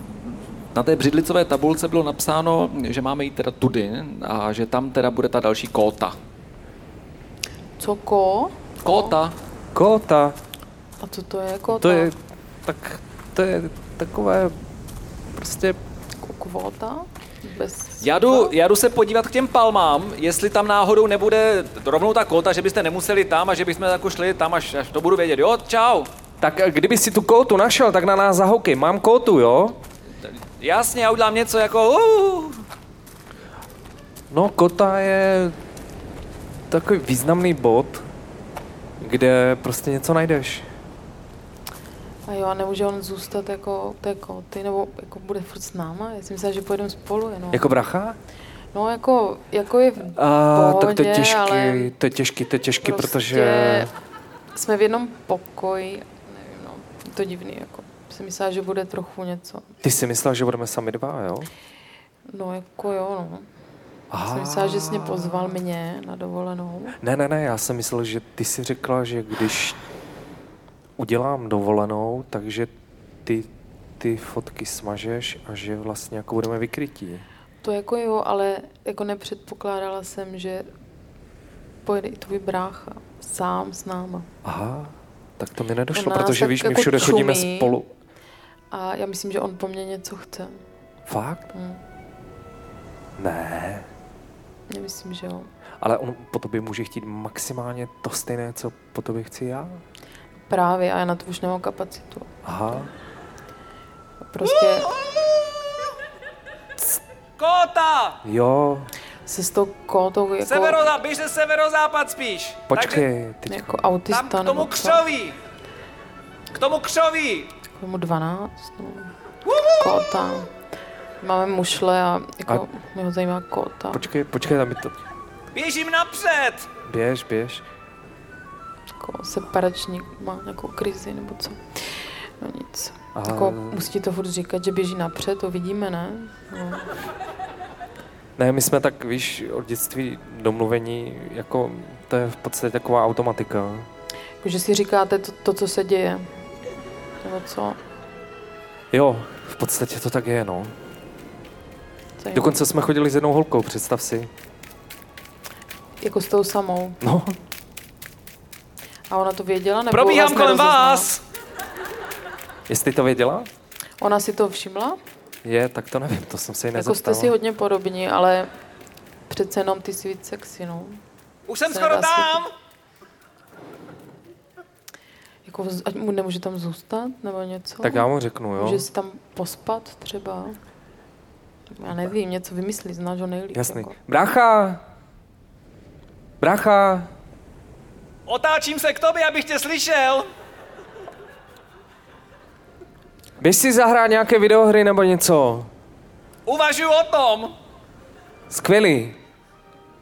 S3: na té břidlicové tabulce bylo napsáno, že máme jít teda tudy a že tam teda bude ta další kóta.
S1: Co ko?
S3: Kóta?
S4: Kota.
S1: A co to je jako kota?
S4: To je, tak, to je takové prostě
S1: Ko- Kvota? Bez...
S6: Já jdu, já jdu se podívat k těm palmám, jestli tam náhodou nebude rovnou ta kota, že byste nemuseli tam a že bychom jako šli tam, až, až to budu vědět. Jo, čau.
S4: Tak eh, kdyby si tu kótu našel, tak na nás zahokej. Mám kótu, jo?
S6: Jasně, já udělám něco jako... Uh,
S4: No, kota je takový významný bod, kde prostě něco najdeš.
S1: No. A jo, a nemůže on zůstat jako u té koty, nebo jako bude furt s náma? Já si myslela, že pojedeme spolu jenom.
S4: Jako bracha?
S1: No jako, jako je v
S4: A,
S1: pohodě,
S4: tak to je těžký,
S1: ale
S4: to je těžký, to je těžký,
S1: prostě
S4: protože...
S1: jsme v jednom pokoji, nevím, no, je to divný, jako jsem myslela, že bude trochu něco.
S4: Ty si myslel, že budeme sami dva, jo?
S1: No jako jo, no. Jsem myslela, že jsi mě pozval mě na dovolenou.
S4: Ne, ne, ne, já jsem myslel, že ty si řekla, že když udělám dovolenou, takže ty ty fotky smažeš a že vlastně jako budeme vykrytí.
S1: To jako jo, ale jako nepředpokládala jsem, že pojede i tvůj brácha sám s náma.
S4: Aha, tak to mi nedošlo,
S1: On nás
S4: protože
S1: tak
S4: víš, my
S1: jako
S4: všude chodíme
S1: čumí.
S4: spolu.
S1: A já myslím, že on po mně něco chce.
S4: Fakt?
S1: Hmm.
S4: Ne,
S1: Já myslím, že jo.
S4: ale on po tobě může chtít maximálně to stejné, co po tobě chci já.
S1: Právě, a já na to už nemám kapacitu.
S4: Aha.
S1: Prostě
S6: kota!
S4: Jo,
S1: se s tou kótou jako,
S6: Severozá, běž se severozápad spíš.
S4: počkej, teď
S1: jako
S6: tam
S1: autista
S6: k tomu
S1: nebo co,
S6: křoví. K tomu křoví.
S1: jako mu 12, no. Kóta. Máme mušle a jako
S4: A-
S1: a... mě ho zajímá kóta.
S4: počkej, počkej, tam je to...
S6: Běžím napřed.
S4: Běž, běž.
S1: Jako separačník má nějakou krizi nebo co. No nic.
S4: A-
S1: Jako, musí to furt říkat, že běží napřed, to vidíme, ne? No.
S4: Ne, my jsme tak, víš, od dětství domluvení, jako to je v podstatě taková automatika.
S1: Jako, že si říkáte to, to, co se děje. Nebo co?
S4: Jo, v podstatě to tak je, no.
S1: Zajímavé.
S4: Dokonce jsme chodili s jednou holkou, představ si.
S1: Jako s tou samou.
S4: No,
S1: A ona to věděla? Nebo vlastně
S6: Probíhám
S1: vás
S6: kolem
S1: nerozeznala?
S6: vás.
S4: jestli to věděla?
S1: Ona si to všimla?
S4: Je, tak to nevím, to jsem se jí
S1: Jako
S4: nezeptal.
S1: jste si hodně podobní, ale přece jenom ty jsi víc sexy, no.
S6: Už jsem
S1: Se
S6: skoro
S1: nedá
S6: tam.
S1: Jako, z- ať mu nemůže tam zůstat, nebo něco?
S4: Tak já mu řeknu, jo.
S1: Může si tam pospat třeba? Já nevím, něco vymyslí, znáš ho nejlíp.
S4: Jasný.
S1: Jako.
S4: Brácha! Brácha!
S6: Otáčím se k tobě, abych tě slyšel.
S4: Běž si zahrát nějaké videohry nebo něco.
S6: Uvažuji o tom.
S4: Skvělý.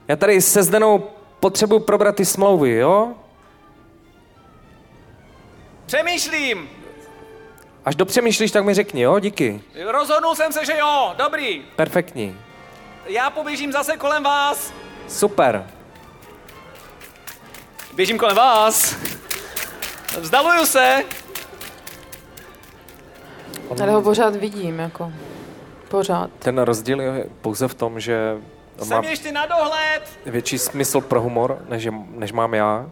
S4: Já tady se Zdenou potřebuji probrat ty smlouvy, jo?
S6: Přemýšlím.
S4: A Až dopřemýšlíš, tak mi řekni, jo? Díky.
S6: Rozhodnul jsem se, že jo, dobrý.
S4: Perfektní.
S6: Já poběžím zase kolem vás.
S4: Super.
S6: Běžím kolem vás. Vzdaluju se.
S1: Ale ho pořád vidím, jako. Pořád.
S4: Ten rozdíl je pouze v tom, že on má
S6: Jsem ještě na dohled.
S4: větší smysl pro humor, než, je- než mám já.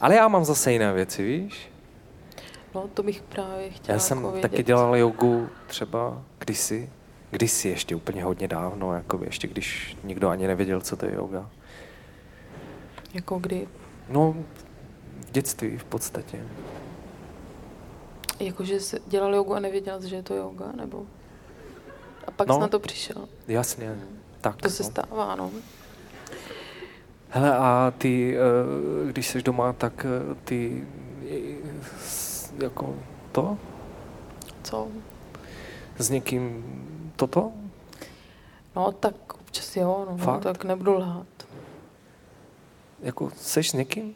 S4: Ale já mám zase jiné věci, víš?
S1: No, to bych právě chtěla
S4: Já jsem
S1: jako vědět.
S4: taky dělal jogu třeba kdysi. Kdysi ještě úplně hodně dávno, jakoby ještě když nikdo ani nevěděl, co to je yoga.
S1: Jako kdy,
S4: No, v dětství v podstatě.
S1: jakože jsi jako, dělal jogu a nevěděl, jsi, že je to yoga, nebo... A pak
S4: No.
S1: no. jsi na to přišel.
S4: Jasně. Tak,
S1: Hmm. To se
S4: no.
S1: stává, no.
S4: Hele, a ty, eh, když jsi doma, tak eh, ty eh, s- jako to?
S1: Co?
S4: S někým toto?
S1: No, tak občas jo, no,
S4: Fakt?
S1: no tak nebudu lhát.
S4: Jako seš s někým?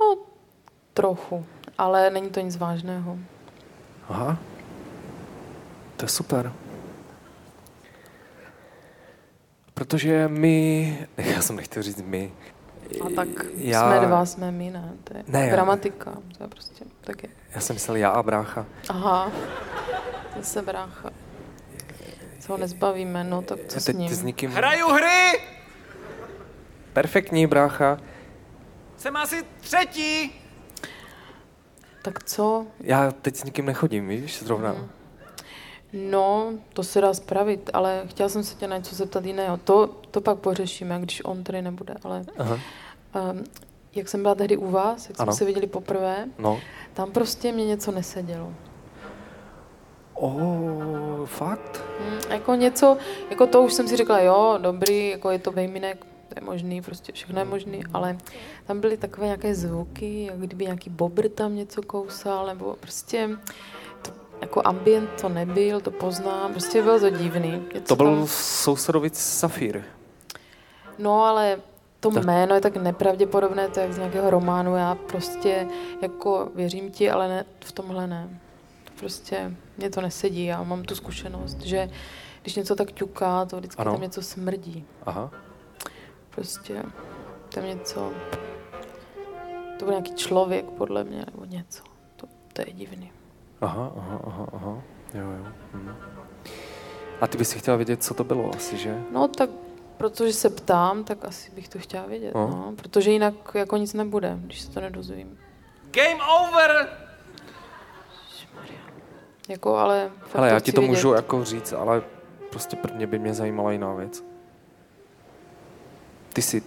S1: No, trochu, ale není to nic vážného.
S4: Aha. To je super. Protože my, já jsem nechtěl říct my,
S1: A tak
S4: Já-
S1: já... jsme dva, jsme my, ne? To je
S4: Ne,
S1: ne,
S4: já-
S1: gramatika. To je prostě tak je.
S4: já jsem myslel já a brácha.
S1: Aha, zase brácha. Se ho nezbavíme, no tak co
S4: Já
S1: s
S4: teď
S1: ním?
S4: s nikým...
S6: Hraju hry.
S4: Perfektní brácha.
S6: Jsem asi třetí.
S1: Tak co?
S4: Já teď s nikým nechodím, víš, zrovna.
S1: Mhm.
S4: Mm.
S1: No, to se dá spravit, ale chtěla jsem se tě na něco zeptat jiného. To, to pak pořešíme, když on tady nebude, ale...
S4: Aha.
S1: Um, jak jsem byla tehdy u vás, jak jsme
S4: Ano.
S1: se viděli poprvé,
S4: No.
S1: tam prostě mě něco nesedělo.
S4: Oh, fakt?
S1: Mm, jako něco, jako to už jsem si řekla, jo, dobrý, jako je to vejminek, to je možný, prostě všechno je možný, ale tam byly takové nějaké zvuky, jak kdyby nějaký bobr tam něco kousal, nebo prostě to, jako ambient to nebyl, to poznám, prostě bylo to divný. Něco
S4: To byl
S1: tam-
S4: sousedovic Safír.
S1: No, ale to
S4: Tak-
S1: jméno je tak nepravděpodobné, to je jak z nějakého románu. Já prostě jako věřím ti, ale ne, v tomhle ne. Prostě mě to nesedí. Já mám tu zkušenost, že když něco tak ťuká, to vždycky
S4: Ano.
S1: ano. tam něco smrdí.
S4: Aha.
S1: Prostě tam něco... To byl nějaký člověk, podle mě, nebo něco. To, to je divný.
S4: Aha, aha, aha, aha. Jo, jo. Hm. A ty bys si chtěla vědět, co to bylo asi, že?
S1: No tak protože se ptám, tak asi bych to chtěla vědět.
S4: Aha.
S1: No. Protože jinak jako nic nebude, když se to nedozvím.
S6: Game over.
S1: Jako, ale... fakt
S4: Hele, já
S1: chci
S4: ti to
S1: vědět.
S4: můžu jako říct, ale prostě prvně by mě zajímala jiná věc. Ty jsi...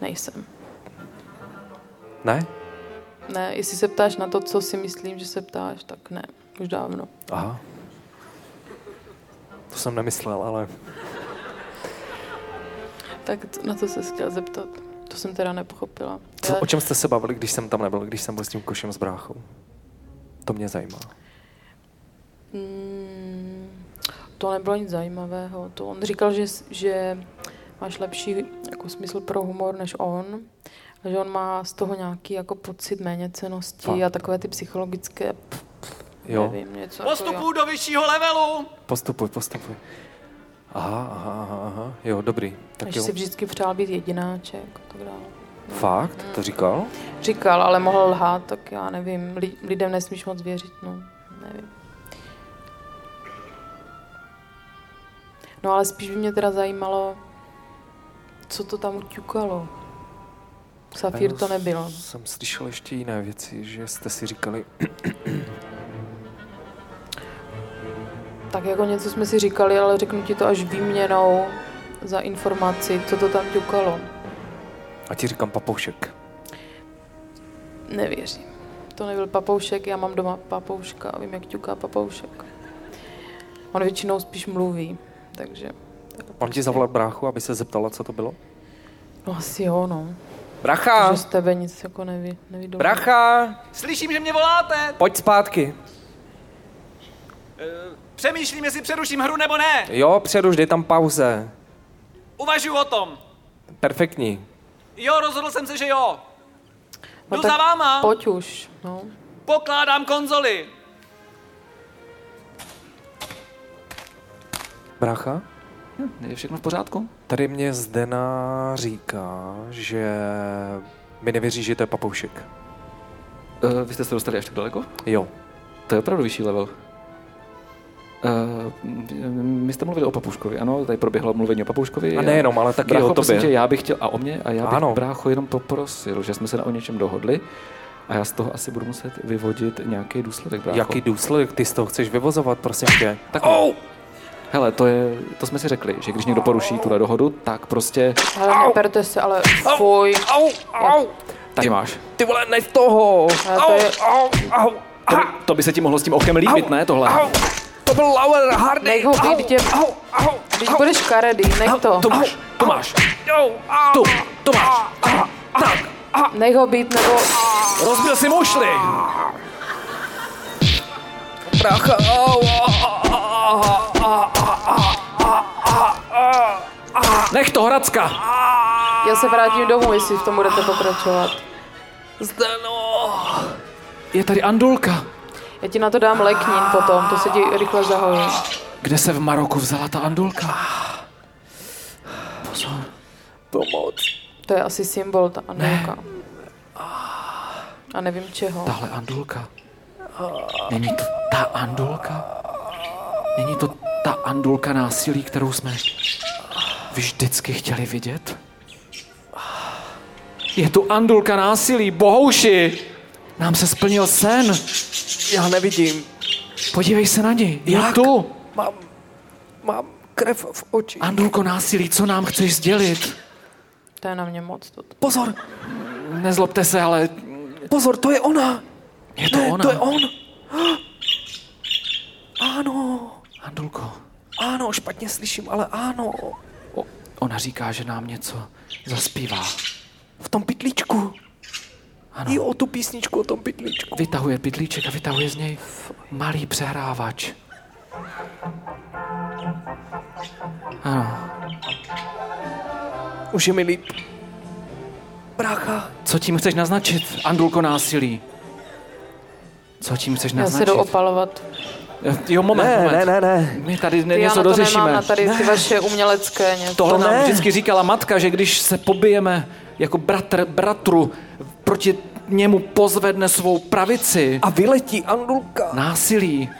S1: Nejsem.
S4: Ne?
S1: Ne, jestli se ptáš na to, co si myslím, že se ptáš, tak ne. Už dávno.
S4: Aha. To jsem nemyslel, ale...
S1: Tak t- na to se chtěla zeptat. To jsem teda nepochopila.
S4: Co, o čem jste se bavili, když jsem tam nebyl, když jsem byl s tím košem s bráchou? To mě zajímá.
S1: Mm, to nebylo nic zajímavého. To on říkal, že, s- že máš lepší jako smysl pro humor než on. A že on má z toho nějaký jako pocit méněcenosti
S4: Fakt.
S1: a takové ty psychologické, pff,
S4: Jo,
S1: nevím, něco
S6: Postupuju do vyššího levelu.
S4: postupuj, postupuj. Aha, aha, aha, aha. Jo, dobrý.
S1: Tak
S4: Tak
S1: Až
S4: jo.
S1: si vždycky přál být jedináček a tak dále.
S4: Fakt?
S1: Mm.
S4: To říkal?
S1: Říkal, ale mohl lhát, tak já nevím. Li- lidem nesmíš moc věřit, no. Nevím. No ale spíš by mě teda zajímalo, co to tam uťukalo. Safír
S4: Já
S1: to nebyl.
S4: Jsem slyšel ještě jiné věci, že jste si říkali,
S1: Tak jako něco jsme si říkali, ale řeknu ti to až výměnou za informaci, co to tam ťukalo.
S4: a ti říkám papoušek.
S1: Nevěřím. To nebyl papoušek, já mám doma papouška a vím, jak ťuká papoušek. On většinou spíš mluví, takže...
S4: On ti zavolal bráchu, aby se zeptala, co to bylo?
S1: No asi jo, no.
S4: Bracha!
S1: Že z tebe nic jako neví, neví
S4: Bracha!
S6: Slyším, že mě voláte.
S4: Pojď zpátky.
S6: Přemýšlím, jestli přeruším hru nebo ne.
S4: Jo, přeruš, dej tam pauze.
S6: Uvažuji o tom.
S4: Perfektní.
S6: Jo, rozhodl jsem se, že jo. Jdu
S1: tak
S6: za váma.
S1: Pojď už, no.
S6: Pokládám konzoli.
S4: Brácha?
S6: Hm, je všechno v pořádku?
S4: Tady mě Zdena říká, že mi nevěří, že to je papoušek.
S6: Uh, vy jste se dostali až tak daleko?
S4: Jo.
S6: To je opravdu vyšší level. Uh, my jste mluvili o Papouškovi, ano, tady proběhlo mluvení o Papouškovi.
S4: A nejenom, ale taky
S6: brácho,
S4: o
S6: prosím
S4: tobě.
S6: tě, já bych chtěl, a o mě, a já bych ano.
S4: Ano.
S6: brácho jenom poprosil, že jsme se na o něčem dohodli a já z toho asi budu muset vyvodit nějaký důsledek, brácho.
S4: Jaký důsledek ty z toho chceš vyvozovat, prosím tě?
S6: Tak oh! Hele, to, je, to jsme si řekli, že když někdo poruší tuhle dohodu, tak prostě,
S1: Hele, neperte se, ale fuj.
S4: Au, au,
S6: tady máš.
S4: ty vole, ne toho!
S1: Ale to je,
S4: au, au,
S6: To by, to by se ti mohlo s tím okem líbit, ne tohle?
S4: to byl Lauer Hardy!
S1: Nech ho být, dítě.
S4: au, au,
S1: když budeš karedý, nech to.
S6: To máš, to máš,
S4: au, au,
S6: tu, to máš.
S1: Nech ho být, nebo...
S6: Rozbil si mušli.
S4: brácha, au, au,
S6: Nech to, Hradska.
S1: Já se vrátím domů, jestli v tom budete pokračovat.
S6: no. Je tady Andulka.
S1: Já ti na to dám leknín potom, to se ti rychle zahojí.
S6: Kde se v Maroku vzala ta Andulka?
S4: pomoc.
S1: To je asi symbol, ta anulka. A nevím čeho.
S6: Tahle Andulka. Není to ta Andulka? Není to ta Andulka násilí, kterou jsme vždycky chtěli vidět? Je tu Andulka násilí, bohouši! Nám se splnil sen.
S4: Já nevidím,
S6: Podívej se na něj. Je
S4: Jak?
S6: tu.
S4: mám, mám krev v očích.
S6: Andulko násilí, co nám chceš sdělit?
S1: To je na mě moc. Toto.
S4: Pozor,
S6: Nezlobte se, ale
S4: pozor, to je ona!
S6: je to
S4: ne,
S6: ona.
S4: to je on! Ano,
S6: Andulko,
S4: ano, špatně slyším, ale ano.
S6: o, ona říká, že nám něco zaspívá.
S4: V tom pytlíčku.
S6: Ano.
S4: I o tu písničku, o tom pytlíčku.
S6: Vytahuje pytlíček a vytahuje z něj malý přehrávač. Ano,
S4: Už je mi líp. Brácha,
S6: co tím chceš naznačit, Andulko násilí? Co tím chceš
S1: Já se
S6: naznačit?
S1: jdu opalovat.
S6: Jo, moment,
S4: Ne,
S6: moment.
S4: ne, ne, ne.
S6: My tady ne,
S1: Ty, já
S6: něco
S1: na to
S6: dořešíme.
S1: nemám na tady ty vaše umělecké něco.
S6: Tohle
S4: To
S6: nám
S4: ne.
S6: vždycky říkala matka, že když se pobijeme jako bratr bratru, proti němu pozvedne svou pravici.
S4: A vyletí Andulka
S6: Násilí.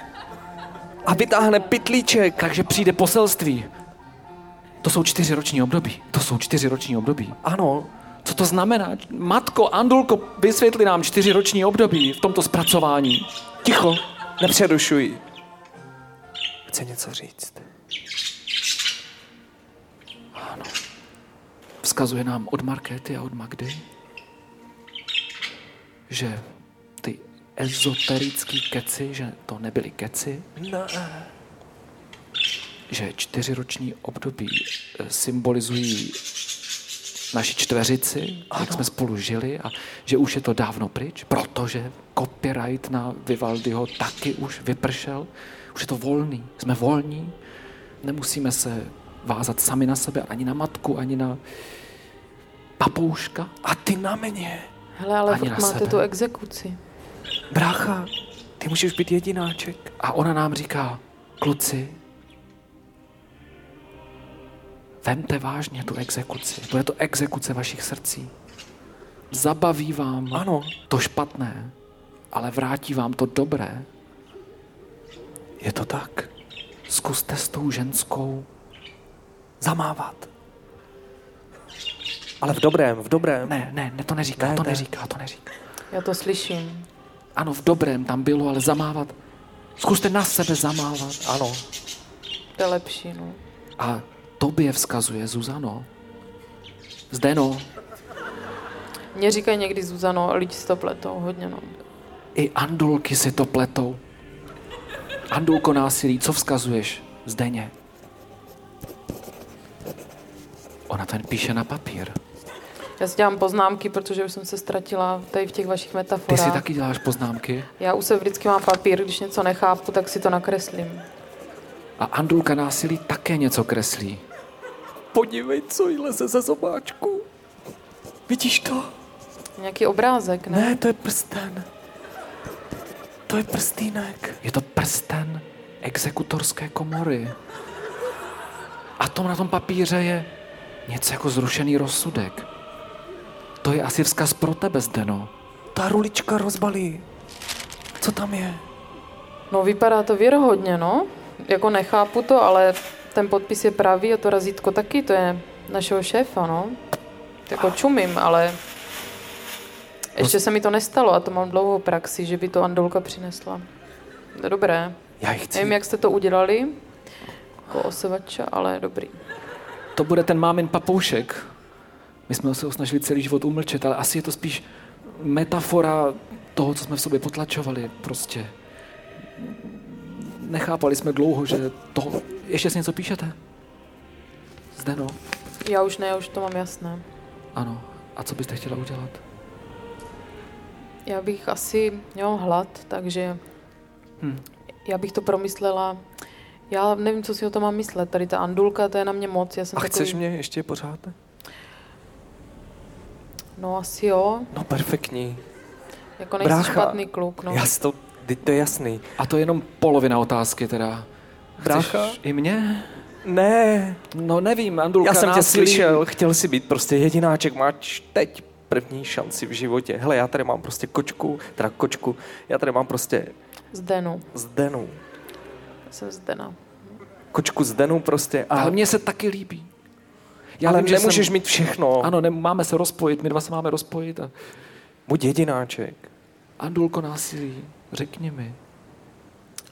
S4: a vytáhne pytlíček.
S6: Takže přijde poselství. To jsou čtyři roční období. To jsou čtyři roční období.
S4: Ano,
S6: Co to znamená? Matko, Andulko, vysvětli nám čtyři roční období v tomto zpracování.
S4: ticho, nepřerušuj. Chce něco říct.
S6: Vzkazuje nám od Markéty a od Magdy, že ty ezoterický keci, že to nebyly keci,
S4: Ne.
S6: že čtyřiroční období eh, symbolizují naši čtveřici, ano. jak jsme spolu žili a že už je to dávno pryč, protože copyright na Vivaldiho taky už vypršel. Už je to volný, jsme volní, nemusíme se vázat sami na sebe, ani na matku, ani na papouška.
S4: A ty na mě.
S1: Hele, ale
S6: Ani na
S1: furt máte
S6: sebe.
S1: tu exekuci.
S4: Brácha, ty můžeš být jedináček.
S6: A ona nám říká, kluci, vemte vážně tu exekuci. Bude to exekuce vašich srdcí. Zabaví vám
S4: Ano.
S6: to špatné, ale vrátí vám to dobré.
S4: Je to tak.
S6: Zkuste s tou ženskou.
S4: Zamávat. Ale v dobrém, v dobrém.
S6: Ne, ne, ne to neříká,
S4: Ne,
S6: to
S4: ne.
S6: neříká, to neříká.
S1: Já to slyším.
S6: Ano, v dobrém tam bylo, ale zamávat. Zkuste na sebe zamávat.
S4: Ano.
S1: To je lepší, no.
S6: A tobě vzkazuje Zuzano. Zdeno,
S1: Mně říkají někdy Zuzano, lidi si to pletou hodně, no.
S6: I andulky si to pletou. Andulko násilí, co vzkazuješ? Zdeně. Ona ten píše na papír.
S1: Já si dělám poznámky, protože už jsem se ztratila tady v těch vašich
S6: Ty
S1: metaforách.
S6: si taky děláš poznámky.
S1: Já už se vždycky mám papír, když něco nechápu, tak si to nakreslím.
S6: A Andulka násilí také něco kreslí.
S4: Podívej, co jí leze ze zobáčku. Vidíš to?
S1: Nějaký obrázek, ne?
S4: Ne, to je prsten. To je prstýnek.
S6: Je to prsten exekutorské komory. A tom na tom papíře je něco jako zrušený rozsudek. To je asi vzkaz pro tebe, Zdeno.
S4: Ta rulička rozbalí. Co tam je?
S1: No vypadá to věrohodně, no. Jako nechápu to, ale ten podpis je pravý a to razítko taky, to je našeho šéfa, no. Jako čumím, ale ještě se mi to nestalo a to mám dlouhou praxi, že by to Andolka přinesla. No, Dobré.
S4: Já ji chci.
S1: Nevím, jak jste to udělali, jako osvača, ale dobrý.
S6: To bude ten mámin papoušek. My jsme se ho snažili celý život umlčet, ale asi je to spíš metafora toho, co jsme v sobě potlačovali. Prostě nechápali jsme dlouho, že to... Ještě si něco píšete? Zdeno?
S1: Já už ne, já už to mám jasné.
S6: Ano. A co byste chtěla udělat?
S1: Já bych asi měl hlad, takže hmm.
S4: Hm.
S1: já bych to promyslela. Já nevím, co si o tom mám myslet. Tady ta Andulka, to je na mě moc. Já jsem
S4: A chceš
S1: takový...
S4: mě ještě pořád?
S1: No asi jo,
S4: No perfektní.
S1: jako nejsi
S4: Brácha,
S1: špatný kluk. No.
S4: No. Já si to, teď to je jasný.
S6: A to je jenom polovina otázky teda.
S4: Brácha?
S6: Chceš i mě?
S4: Ne,
S6: No nevím, Andulka
S4: já jsem tě
S6: násilí.
S4: slyšel, chtěl si být prostě jedináček, máš teď první šanci v životě. Hele, já tady mám prostě kočku, teda kočku, já tady mám prostě
S1: Zdenu,
S4: Zdenu.
S1: Já jsem Zdena.
S4: Kočku Zdenu prostě. A,
S6: Ale mně se taky líbí. Já
S4: ale
S6: vím, že
S4: nemůžeš
S6: jsem...
S4: mít všechno. Ano.
S6: Ano, ne, máme se rozpojit, my dva se máme rozpojit. A...
S4: Buď jedináček.
S6: Prostě Andulko násilí, řekni mi.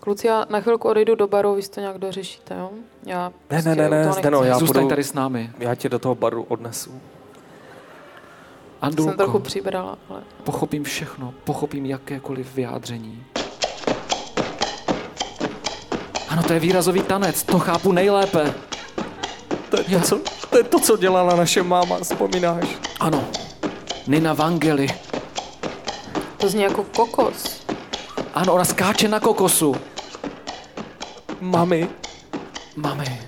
S1: Kluci, já na chvilku odejdu do baru, vy si to nějak dořešíte, jo? Já prostě
S4: Ne, ne, ne,
S1: u toho
S4: ne, Zdeno,
S1: nechci.
S4: já
S6: Zůstaň
S4: budu-
S6: tady s námi.
S4: Já tě do toho baru odnesu.
S1: Jsem trochu
S6: Andulko,
S1: přibrala, ale...
S6: pochopím všechno, pochopím jakékoliv vyjádření. Ano, to je výrazový tanec, to chápu nejlépe.
S4: To je to, co, to, je to, co dělala naše máma, vzpomínáš?
S6: Ano, Nina Vangeli.
S1: To zní jako kokos.
S6: Ano, ona skáče na kokosu.
S4: Mami,
S6: Mami,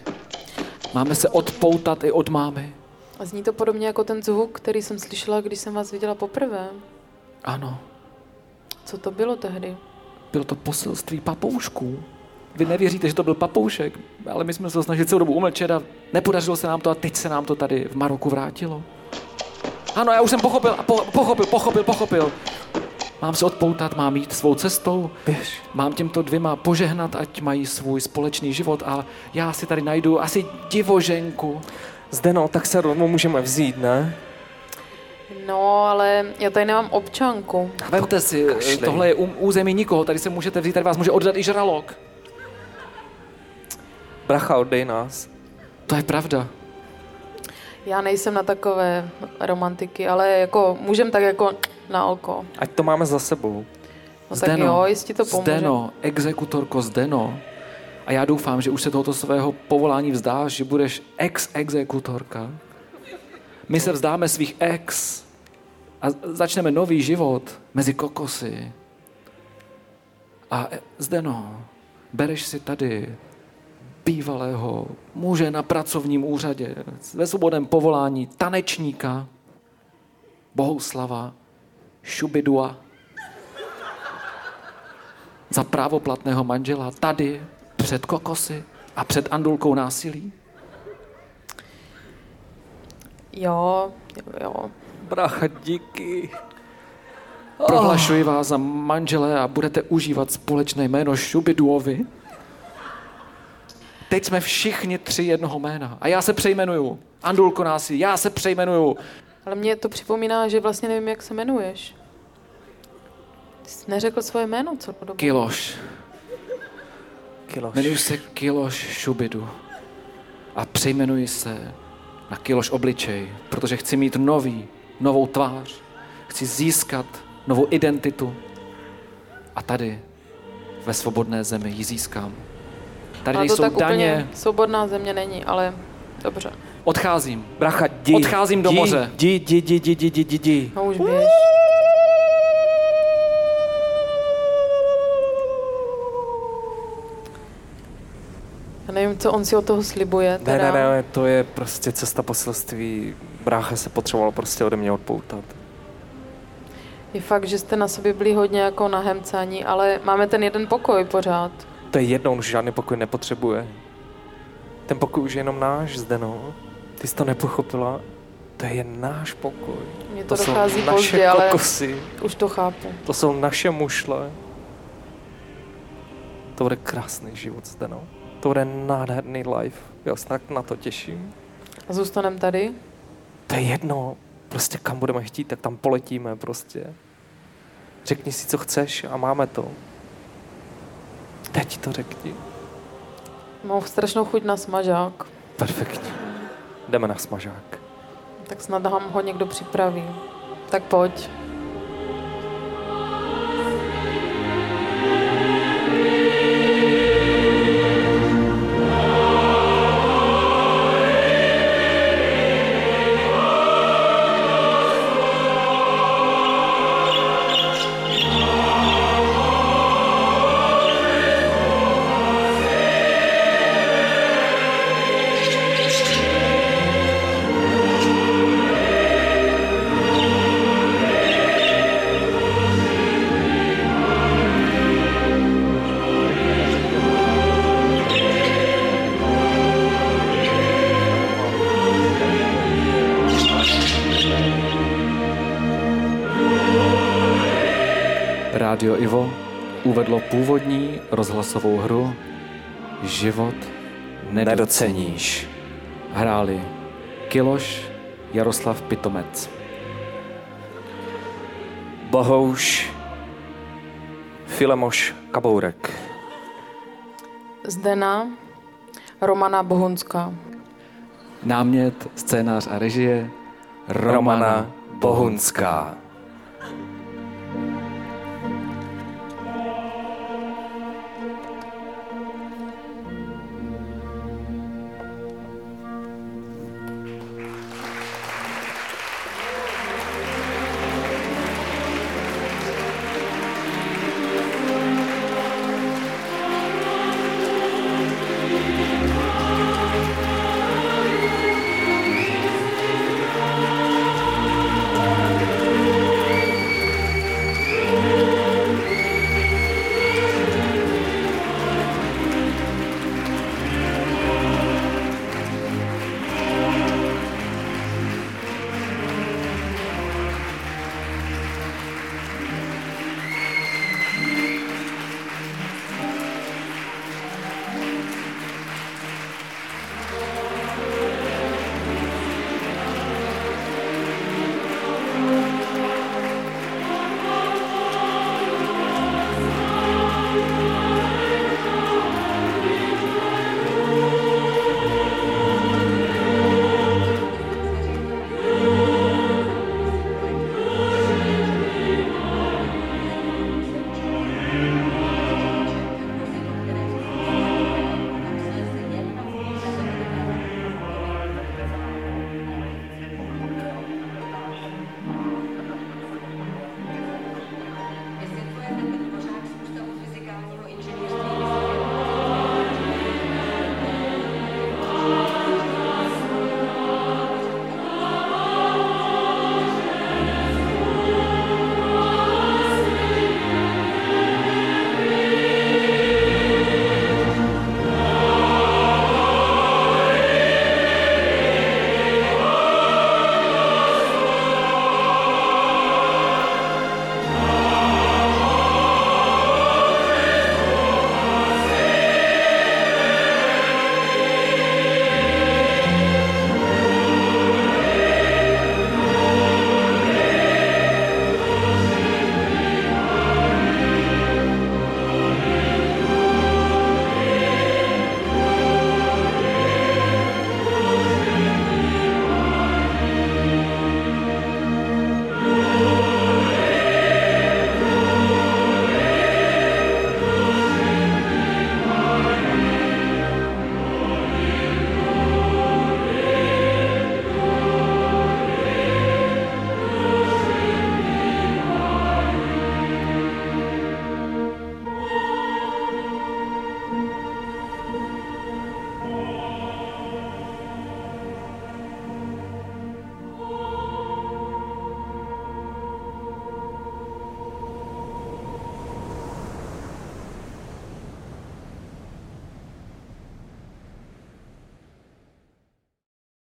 S6: máme se odpoutat i od mámy.
S1: A zní to podobně jako ten zvuk, který jsem slyšela, když jsem vás viděla poprvé.
S6: Ano,
S1: Co to bylo tehdy?
S6: bylo to poselství papoušků. Vy nevěříte, že to byl papoušek, ale my jsme se to snažili celou dobu umlčet a nepodařilo se nám to a teď se nám to tady v Maroku vrátilo. Ano, já už jsem pochopil, a po, pochopil, pochopil, pochopil. Mám se odpoutat, mám jít svou cestou,
S4: běž.
S6: mám těmto dvěma požehnat, ať mají svůj společný život a já si tady najdu asi divoženku.
S4: Zdeno, tak se rovnou můžeme vzít, ne?
S1: No, ale já tady nemám občanku.
S6: Vemte si,
S4: kašlej.
S6: tohle je um, území nikoho, tady se můžete vzít, tady vás může oddat i žralok.
S4: Bracha, oddej nás.
S6: To je pravda.
S1: Já nejsem na takové romantiky, ale jako můžem tak jako na oko.
S4: Ať to máme za sebou.
S1: No tak jo, jestli to pomůže.
S6: Zdeno, exekutorko Zdeno. A já doufám, že už se tohoto svého povolání vzdáš, že budeš ex-exekutorka. My se vzdáme svých ex a začneme nový život mezi kokosy. A eh, Zdeno, bereš si tady bývalého muže na pracovním úřadě, ve svobodném povolání tanečníka, Bohuslava, Šubidua, za právoplatného manžela tady před kokosy a před andulkou násilí?
S1: Jo, jo.
S4: Bracha, díky.
S6: Prohlašuji vás za manžele a budete užívat společné jméno Šubiduovi. Teď jsme všichni tři jednoho jména. A já se přejmenuju. Andulko násilí, já se přejmenuju.
S1: Ale mě to připomíná, že vlastně nevím, jak se jmenuješ. Ty jsi neřekl svoje jméno celou dobu.
S6: Kiloš.
S4: Kiloš.
S6: Jmenuji se Kiloš Šubidu. A přejmenuji se na Kiloš obličej, protože chci mít nový, novou tvář. Chci získat novou identitu. A tady, ve svobodné zemi, ji získám. Tady
S1: Ale to
S6: nejsou
S1: tak
S6: daně.
S1: úplně svobodná země není, ale dobře.
S6: Odcházím.
S4: Bracha, jdi.
S6: Odcházím do
S4: Jdi,
S6: moře.
S4: Jdi, jdi, jdi, jdi, jdi, jdi, jdi.
S1: No už běž. Já nevím, co on si od toho slibuje.
S4: Ne,
S1: Teda.
S4: ne, ne, to je prostě cesta poselství. Brácha se potřeboval prostě ode mě odpoutat.
S1: Je fakt, že jste na sobě byli hodně jako nahemcání, ale máme ten jeden pokoj pořád.
S4: To je jednou, on už žádný pokoj nepotřebuje. Ten pokoj už je jenom náš, Zdeno. Ty jsi to nepochopila. To je jen náš pokoj.
S1: Mně to,
S4: To jsou
S1: dochází
S4: naše
S1: pozdě, ale
S4: kokosy.
S1: už to chápu.
S4: To jsou naše mušle. To bude krásný život, Zdeno. To bude nádherný life. Já se tak na to těším.
S1: Zůstaneme tady?
S4: To je jedno. Prostě kam budeme chtít, tak tam poletíme prostě. Řekni si, co chceš a máme to. Teď to řekni.
S1: Mám strašnou chuť na smažák,
S4: Perfektní. Jdeme na smažák.
S1: tak snad nám ho někdo připraví. Tak pojď.
S6: Rádio Ivo uvedlo původní rozhlasovou hru Život nedoceníš. Hráli Kiloš Jaroslav Pitomec.
S4: Bohouš Filemoš Kabourek.
S1: Zdena, Romana Bohunská.
S6: Námět, scénář a režie Romana,
S4: Romana
S6: Bohunská.